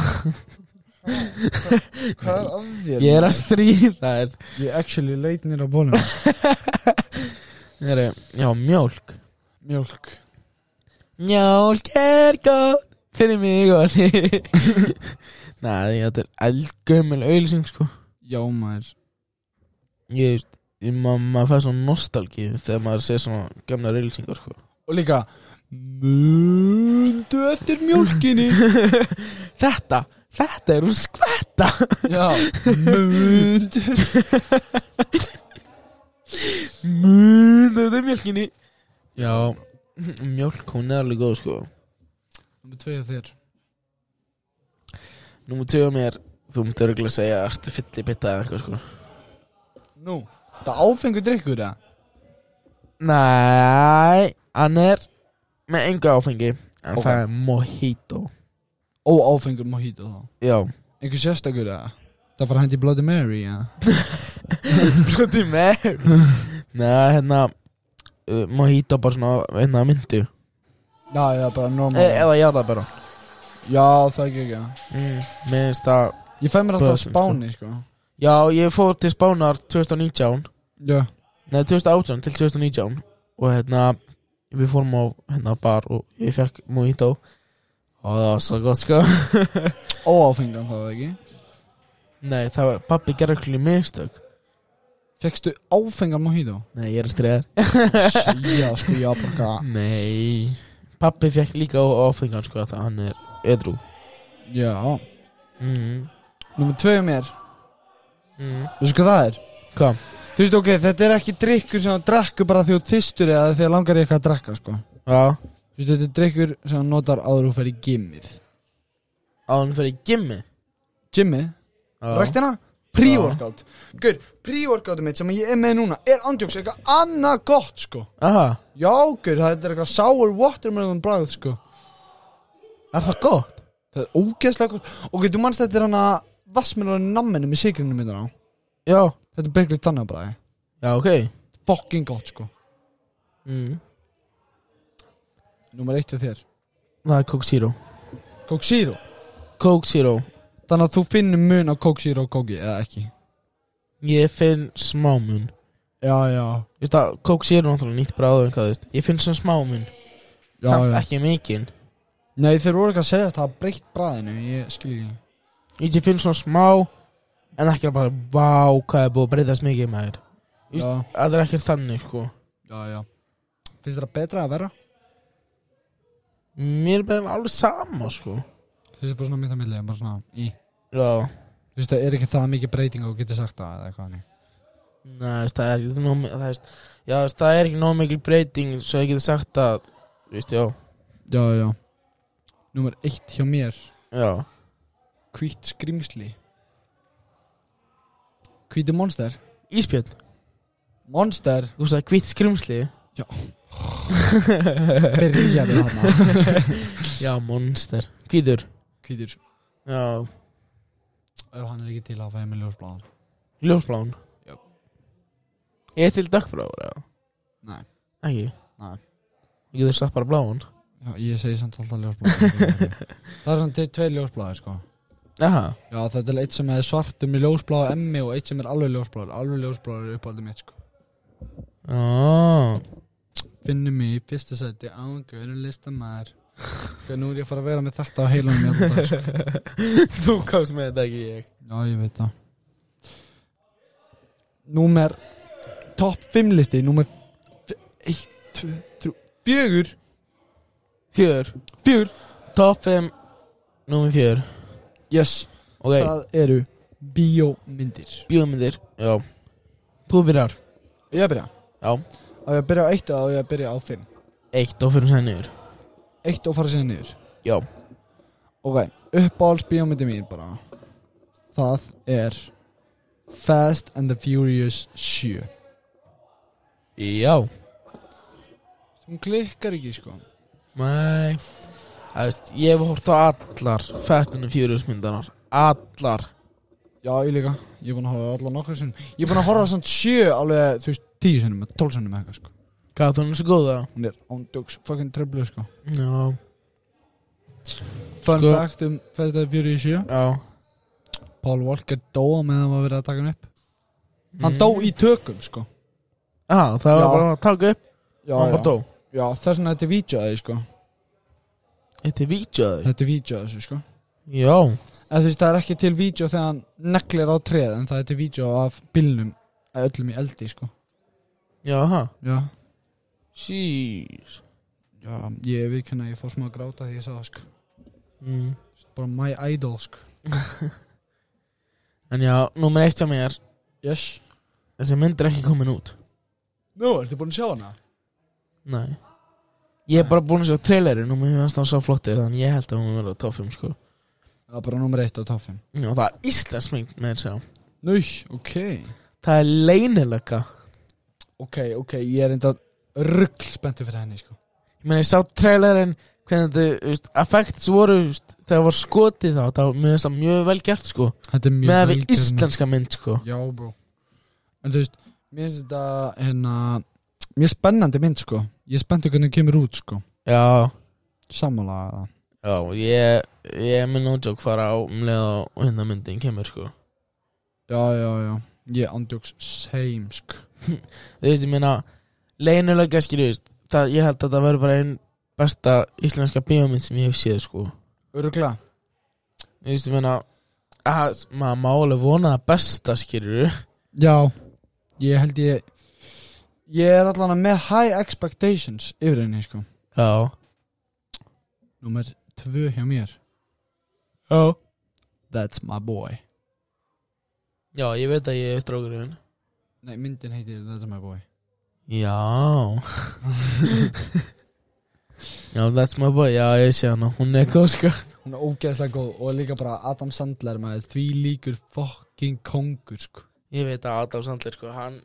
S1: Hvað er að þér?
S2: Ég er að stríða þær
S1: Ég actually leit nýra bólum
S2: Heru, Já, mjólk
S1: Mjólk
S2: Mjólk er góð Fyrir mig og þig Nei, þetta er eldgömmul auðlýsing sko
S1: Já maður
S2: ég veist ég- ma maður fær svona nostalgíu þegar maður sé svona gamla reylsingar sko.
S1: Og líka Mundu eftir mjólkinni
S2: þetta, þetta er hún skvetta
S1: Já Mundu
S2: mun, þetta er mjölkinni já, mjölk hún er alveg góð sko
S1: Númer tveið þér
S2: nú tjóðum mér, þú myndir örgulega að segja ertu fyllir bytta eða eitthvað sko
S1: Nú Það áfengur drikkur það
S2: nei, hann er með enga áfengi en
S1: Ok.
S2: það er mojito
S1: Ó áfengur mojito þá
S2: já,
S1: Einhver sérstakur það Það fara hendi Bloody Mary já
S2: Bloody Mary nei, hérna uh, mojito bara svona, hérna myndu
S1: Já það er bara normal
S2: e eða jarðabæra
S1: Já það ekki ekki
S2: Mm, mér finnst það
S1: Ég fæ mér alltaf á
S2: Böðsum,
S1: spáni sko
S2: Já, ég fór til Spánar 2019
S1: Já
S2: Nei, 2018 til 2019 Og hérna, við fórum á hérna bar og ég fekk mojito Og það var svo gott, sko
S1: Ó áfengan það ekki
S2: Nei, það var, pappi gerði okkur í mistök
S1: Fekstu áfengan mojito
S2: Nei, ég er streyðar
S1: Sýja sko ég að bara
S2: Ah. Nei Pappi fekk líka á áfengan, sko, það hann er öðru
S1: Já
S2: mm.
S1: Númer tveið mér
S2: mm.
S1: Þú sko það er
S2: Hvað?
S1: Þú veist, ok, þetta er ekki drikkur sem þú drekkur bara því þú tvistur eða þegar langar þig eitthvað að drekka, sko.
S2: Já,
S1: Þú veist, þetta er drikkur sem þú notar áður þú fer í gimmið.
S2: á hann fyrir gimmi
S1: Gimmið? Rektina? hérna? Pre-workout. Gur, pre-workoutið mitt sem ég er með núna er andjóks eitthvað annað gott, sko.
S2: Aha,
S1: Já, gur, þetta er eitthvað sour watermelon bragð, sko.
S2: er það gott?
S1: Það er ógeðslega gott. Ok, þú manst þetta er hana vassmelon namminu með sigrinu minna á.
S2: Já
S1: Þetta er bygglið þannig bræði.
S2: Já, ok
S1: eh. Fucking gott, sko.
S2: mm.
S1: Númer eitt er þér.
S2: Það er Coke Zero
S1: Coke Zero.
S2: Coke Zero
S1: Þannig að þú finnir mun á Coke Zero og Coke, eða ekki?
S2: Ég finn smámun
S1: Já, já.
S2: Þú veist að Coke Zero er náttúrulega nýtt bráðu en hvað þú veist Ég finn svona smámun
S1: Já,
S2: Samt
S1: já.
S2: ekki mikinn
S1: Nei þeir voru ekki að segja þetta að breytt bræðinu Ég skil ekki
S2: Þú veist, Ég finn svona smá En ekki bara Vá hvað er búið að breyðast mikið maður Víst.
S1: Já,
S2: Það er ekkert þannig sko
S1: já, já Finnst þér það betra að vera?
S2: Mér er bara alveg sama sko
S1: Finnst þér bara svona mitt að milli Bara svona í
S2: Já
S1: Finnst það er ekki það mikið breyting og getur sagt það eða eitthvað þannig
S2: Nei þú veist, það er ekki nóg mi- Það er, já, þú veist, það er ekki nóg mikil breyting Svo ég geti sagt að Þú veist já
S1: Já, já Númer eitt hjá mér
S2: Já
S1: Hvít skrimsli Hvíti monster
S2: Ísbjörn
S1: Monster
S2: Þú veist að hvitt skrimsli
S1: Byrjaði hana
S2: Já monster Hvítur
S1: Hvítur
S2: Já
S1: Ef hann er ekki til að fæða með ljósbláðan
S2: Ljósblán
S1: Já.
S2: Er til dökkbláður eða?
S1: Nei.
S2: Ekki?
S1: Nei.
S2: Ég getur satt bara bláan
S1: Já, ég segi samt alltaf ljósbláðan Það er svona tveir ljósbláði sko
S2: Jaha,
S1: Já, þetta er eitt sem er svartum í ljósbláðu emmi og eitt sem er alveg ljósbláður Alveg ljósbláður er uppáldið mitt, sko
S2: já
S1: Finnum mig í fyrsta sæti ángöðurinn listamæður Þegar nú er ég að fara að vera með þetta á heilanum í allan dag, sko.
S2: Þú komst með þetta ekki ég
S1: Já, ég veit það Númer Top 5 listi Númer 1, 2, 3, 4
S2: Fjör,
S1: 4
S2: top 5 Númer fjör
S1: Yes,
S2: Ok,
S1: það eru Bíómyndir
S2: bjóðmyndir Já Þú byrjar
S1: Ég að byrja
S2: Já.
S1: Á ég að byrja á 1 eða á ég að byrja á 5
S2: Eitt og fyrir henni yfir
S1: 1 og fara síðan niður
S2: Já
S1: Ok, uppáhalds bíómyndi mín bara Það er Fast and the Furious 7
S2: Já
S1: Hún klikkar ekki sko
S2: Nei Það veist, ég hef hort á allar Fast and the Furious myndanar Allar
S1: Já, ég líka, ég er búin að horfa á allar nokkur sinnum Ég er búin að horfa á samt sjö alveg, þú veist, tíu sinnum, eða tólf sinnum eða eitthvað sko
S2: Hvað hún er svo góð það?
S1: Hún er on dukes, fucking triplu sko
S2: Já
S1: Fun
S2: Sko-
S1: fact um Fast and Furious 7
S2: Já
S1: Paul Walker dóa meðan hann var verið að taka hann upp
S2: Mhm.
S1: Hann dó í tökum sko
S2: Já, það var
S1: Já.
S2: bara að taka upp
S1: Já,
S2: Hann bara
S1: já,
S2: dó
S1: já þess vegna þetta er vídjóði sko
S2: Þetta er vítjaði
S1: Þetta er vídjóði þessu sko
S2: Já
S1: En þú veist, það er ekki til vídjó þegar hann neglir á treð En það er til vídjó af bílnum öllum í eldi sko
S2: Já, ha
S1: Já
S2: Jeez
S1: Já, ég við kynna að ég fór smá að gráta því ég sá það sko
S2: mm.
S1: Bara my idol sko
S2: En já, númer eitt hjá mér
S1: Yes
S2: Þessi mynd er ekki komin út
S1: Nú, ertu búin að sjá hana?
S2: Nei Ég er bara búin að sjá trailerin og mér finnst það svo flottir Þannig ég held að hún verður á toffum sko
S1: Það er bara nummer eitt á top 5
S2: Já, það er íslensk mynd með þess að segja.
S1: Nú, ok
S2: Það er leynilega
S1: Ok, ok, ég er enda ruggl spennti fyrir henni, sko
S2: Ég meina, ég sá trailerin Hvernig þetta, þú veist, effects voru þú veist, Þegar var skotið þá, þá mér finnst það mjög vel gert sko
S1: Þetta er mjög
S2: Með að
S1: vel
S2: við
S1: gerð
S2: íslenska mynd sko
S1: mynd. Já, bro En þú veist, mér finnst þetta, hérna Mjög spennandi mynd, sko Ég er spennti hvernig hún kemur út, sko
S2: Já,
S1: Sammála það
S2: já, ég Ég mun nótjók fara á um leið og hérna myndin kemur sko
S1: Já, já, já Ég andjóks same, sko
S2: Þú veist, ég meina Leynilega skilur, þú veist það, Ég held að það verður bara einn besta íslenska bíómynd sem ég hef séð sko
S1: Öruglega
S2: Þú veist, ég meina að, maður má alveg vona það besta skilur
S1: Já Ég held ég Ég er allan að með high expectations yfir henni, sko
S2: Já
S1: Númer tvö hjá mér
S2: Já
S1: That's my boy
S2: Já, ég veit að ég er strókurinn
S1: Nei, myndin heitir That's my boy
S2: Já Já, that's my boy Já, ég sé hana, hún er góð sko
S1: Hún er ógeðslega góð og líka bara Adam Sandler maður því líkur fucking kongur sko.
S2: Ég veit að Adam Sandler sko, hann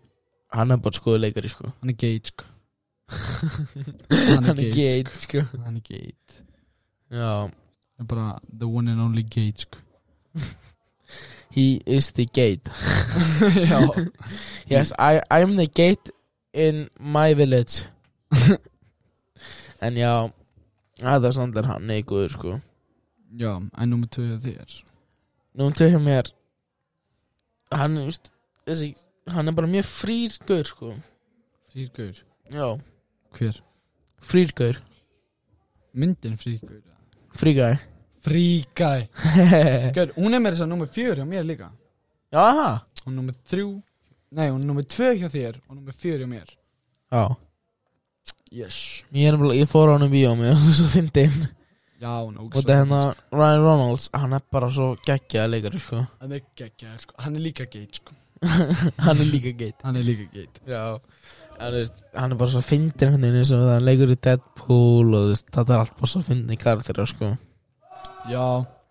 S2: Hann er bara skoðu leikari sko
S1: Hann er geit sko. Hann er geit sko.
S2: geit sko
S1: Hann er geit
S2: Já,
S1: Hann er bara the one and only geit sko.
S2: he is the gate
S1: Já
S2: Yes, I, I'm the gate in my village En já Adam Sandler, hann er góður sko
S1: Já, en nummer tvö hjá þér
S2: Nú tegja mér Hann, þú veist, þessi Hann er bara mjög frýrgaur sko
S1: Frýrgaur
S2: Já,
S1: Hver?
S2: frýrgaur
S1: Myndin frýrgaur
S2: Frýgæ
S1: Frýgæ Gaur, hún er með þess að nummer fjör hjá mér líka
S2: Já, aha
S1: Hún er nummer þrjú Nei, hún er nummer tvö hjá þér og nummer fjör hjá mér
S2: Já,
S1: Yes
S2: ég, er, nefnilega- ég fór á hann um bíó Mér finnst það svo fyndin
S1: Já, hún er
S2: Og þetta hérna Ryan Reynolds Hann er bara svo geggjaða leikari sko
S1: Hann er geggjær sko Hann er líka geit sko
S2: Hann er líka geit
S1: Hann er líka geit
S2: Já En þú veist, hann er bara svo fyndin einhvern veginn eins og það leikur í Deadpool og þú veist, þetta er allt bara svo fyndin í karakterið sko
S1: Já,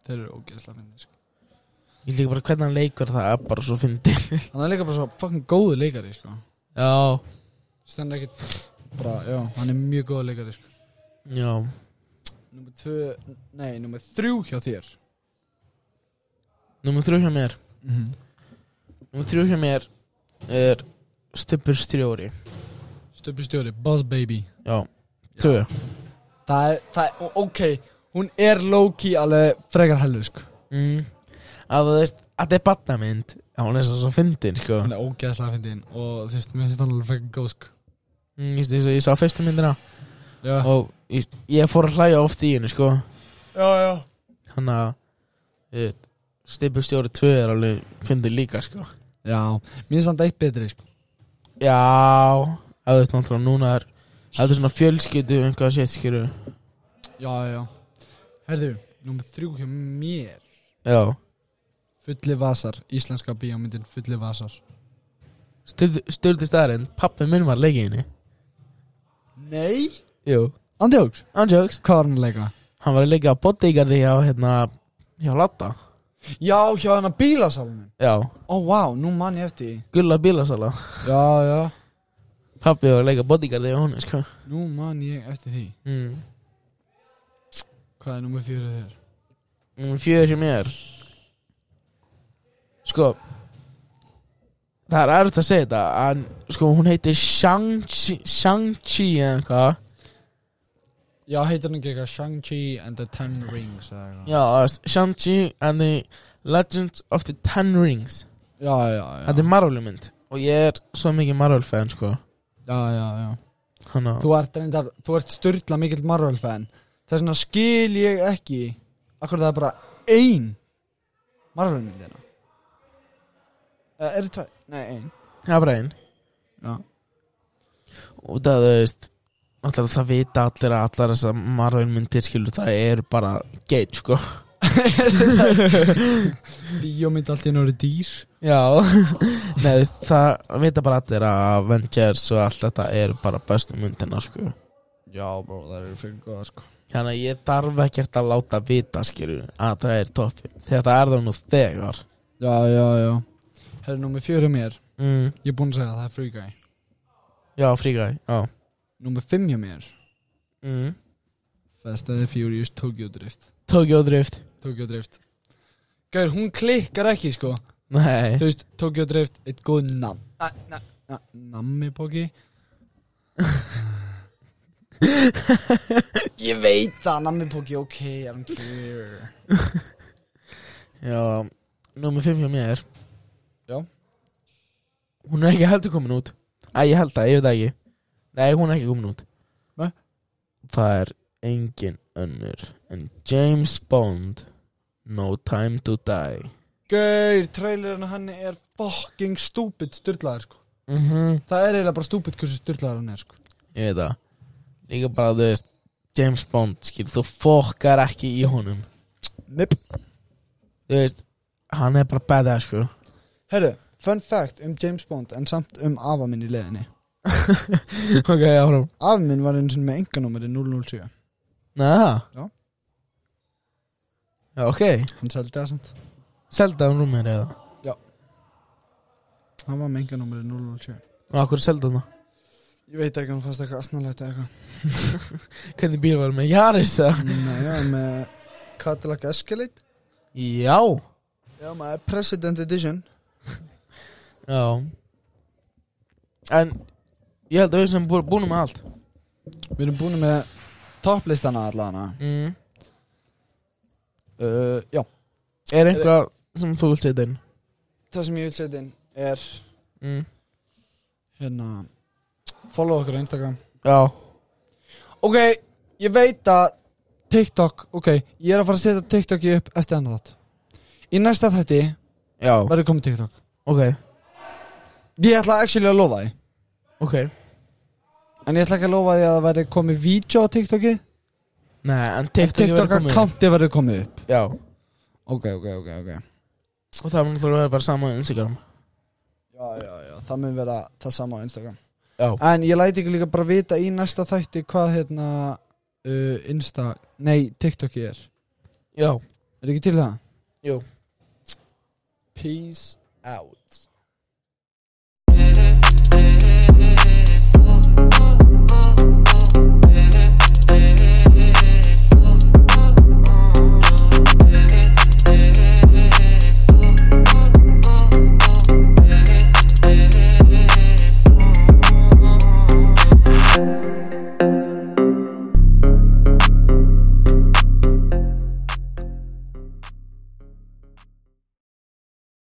S1: þeir eru ógeðslega finnir sko.
S2: Ég líka bara hvernig hann leikur það er bara svo fyndin
S1: Hann er líka bara svo fucking góðu leikari sko.
S2: Já
S1: Stendur ekkert bara, já, hann er mjög góðu leikari sko.
S2: Já
S1: Númer tvö, nei, númer þrjú hjá þér
S2: Númer þrjú hjá mér
S1: mm -hmm.
S2: Númer þrjú hjá mér er Stubbur stjóri
S1: Stöpi stjóri, Buzz Baby
S2: Já Tvö
S1: Það er, það er, ó- ok Hún er low-key alveg frekar hellu sko.
S2: mm. að þú veist, að þetta er batnamynd að hún er svo svo fyndin, sko
S3: Hann er ógeðslega fyndin og þú veist, mér finnst hann alveg fækka góð sko
S2: mm, just, ég, ég sá fyrstu myndina
S3: Já,
S2: og just, ég fór að hlæja oft í henni, sko
S3: já, já
S2: hann að stippustjóri 2 er alveg fyndin líka, sko
S3: Já, mér finnst hann eitt betri sko
S2: já, að þú veist, náttúrulega núna er að þetta er svona fjölskyldu um einhvað sétt, skilur
S3: Já, já Herðu, númer þrjú hjá mér
S2: já,
S3: Fulli Vasar, íslenska bíómyndin Fulli Vasar
S2: stöldi staðarinn pappi minn var leikinni
S3: Nei
S2: jú,
S3: Andjóks,
S2: andjóks
S3: hvað var hann að leika?
S2: hann var að leika bodyguardi hjá hérna, hjá Latta
S1: Já, hjá hennar bílasalunum
S2: já,
S1: Ó, vá, nú mann ég eftir því.
S2: gulla bílasala
S3: Já, já
S2: pappi var að leika bodyguardi hjá honum sko.
S3: Nú man ég eftir því
S2: mm.
S3: Hvað er númer fjöru þér?
S2: Númer fjögur sem ég er sko það er erfitt að segja þetta en sko hún heitir Shang-Chi Shang-Chi eða eitthvað
S3: Já, heitir hann ekki eitthvað Shang-Chi and the Ten Rings eða eitthvað
S2: já, þú veist, Shang-Chi and the Legends of the Ten Rings
S3: Já, já, já
S2: þetta er Marvel mynd og ég er svo mikið Marvel fan sko
S3: Já, já, já
S2: hann að
S3: Þú ert reyndar, þú ert styrla mikill Marvel fan Þess vegna skil ég ekki Akkur það er bara ein Marvel myndina Eða er það Eh, tvær? Nei, ein
S2: það er bara einn
S3: Já
S2: og það, þú veist Allar, það vita allir að allar þess að Marvel myndir skilur það eru bara geit sko
S3: Bíómynd allt í einu eru dýr
S2: Já Nei, þú veist, það vita bara allir að Avengers og allt þetta eru bara bestu myndina sko.
S3: Já, bro, það eru fyrir góða sko
S2: Þannig að ég þarf ekkert að láta vita skilur að það er toppi Þetta er það nú þegar
S3: Já, já, já Herri, númer fjöru mér
S2: mm.
S3: Ég er búinn að segja að það er Free Guy
S2: Já, fríkæði Já
S3: Númer fimm hjá mér
S2: mm.
S3: Fast and the Furious Tokyo Drift
S2: Tokyo Drift
S3: Tokyo Drift Gauður, hún klikkar ekki sko
S2: Nei
S3: Þú veist, Tokyo Drift, eitt góð nam na, na, na, Nammi póki Ég veit það, nammi póki, ok, I don't care
S2: Já, númer 5 hjá mér
S3: Já.
S2: Hún er ekki heldur komin út Æ, ég held það, ég veit það ekki Nei, hún er ekki komin út
S3: Nei.
S2: Það er engin önnur En James Bond No Time to Die
S3: Gauður, trailerinn hann er fucking stúpid styrlaður sko
S2: mm
S3: Það er eiginlega bara stúpid hversu styrlaður hann er sko
S2: Ég veit það Líka bara, þú veist James Bond, skil, þú fokkar ekki í honum
S1: Nip
S2: Þú veist, hann er bara badass, sko
S1: Herru, fun fact um James Bond En samt um afa minn í leðinni
S2: Ok, áfram
S1: Afa minn var eins og með enganúmeri 007
S2: Nei, það?
S1: Já.
S2: Já, ok
S1: Hann seldi það samt
S2: Seldaðan rúmið eða?
S1: Hann var með enganúmeri 007
S2: Og akkur seldaðan það?
S1: Ég veit ekki, hann fannst eitthvað asnalegt eða
S2: Hvernig bíl var hann með Jaris eða?
S1: eitthvað Nei, já, með Cadillac Escalade
S2: Já
S1: Já, maður President Edition
S2: Já En Ég held að við sem bú- búnum með allt
S1: Við erum búin með topplistana allana
S2: mm.
S1: uh, Já,
S2: Er eitthvað sem þú vilt setja inn?
S1: það sem ég vil setja inn er
S2: Mm.
S1: hérna Follow okkur á Instagram
S2: Já
S1: Ok, ég veit að TikTok, ok, ég er að fara að setja TikTok upp eftir annan þátt Í næsta þætti
S2: Já
S1: verður komið TikTok
S2: Ok
S1: Ég ætla actually að lofa því
S2: Ok
S1: En ég ætla ekki að lofa því að það verður komið vídeo á TikToki
S2: Nei en TikTok,
S1: TikTok
S2: verður komið.
S1: accounti verður komið upp
S2: Já
S1: Ok, ok, ok, ok
S2: Og það mun náttúrulega vera bara sama á Instagram
S1: Já, já, já, það mun vera það sama á Instagram
S2: Já
S1: En ég læti ykkur líka bara vita í næsta þætti hvað hérna uh, Insta, nei, TikToki er
S2: Já
S1: Er ekki til það?
S2: Jú.
S1: Peace out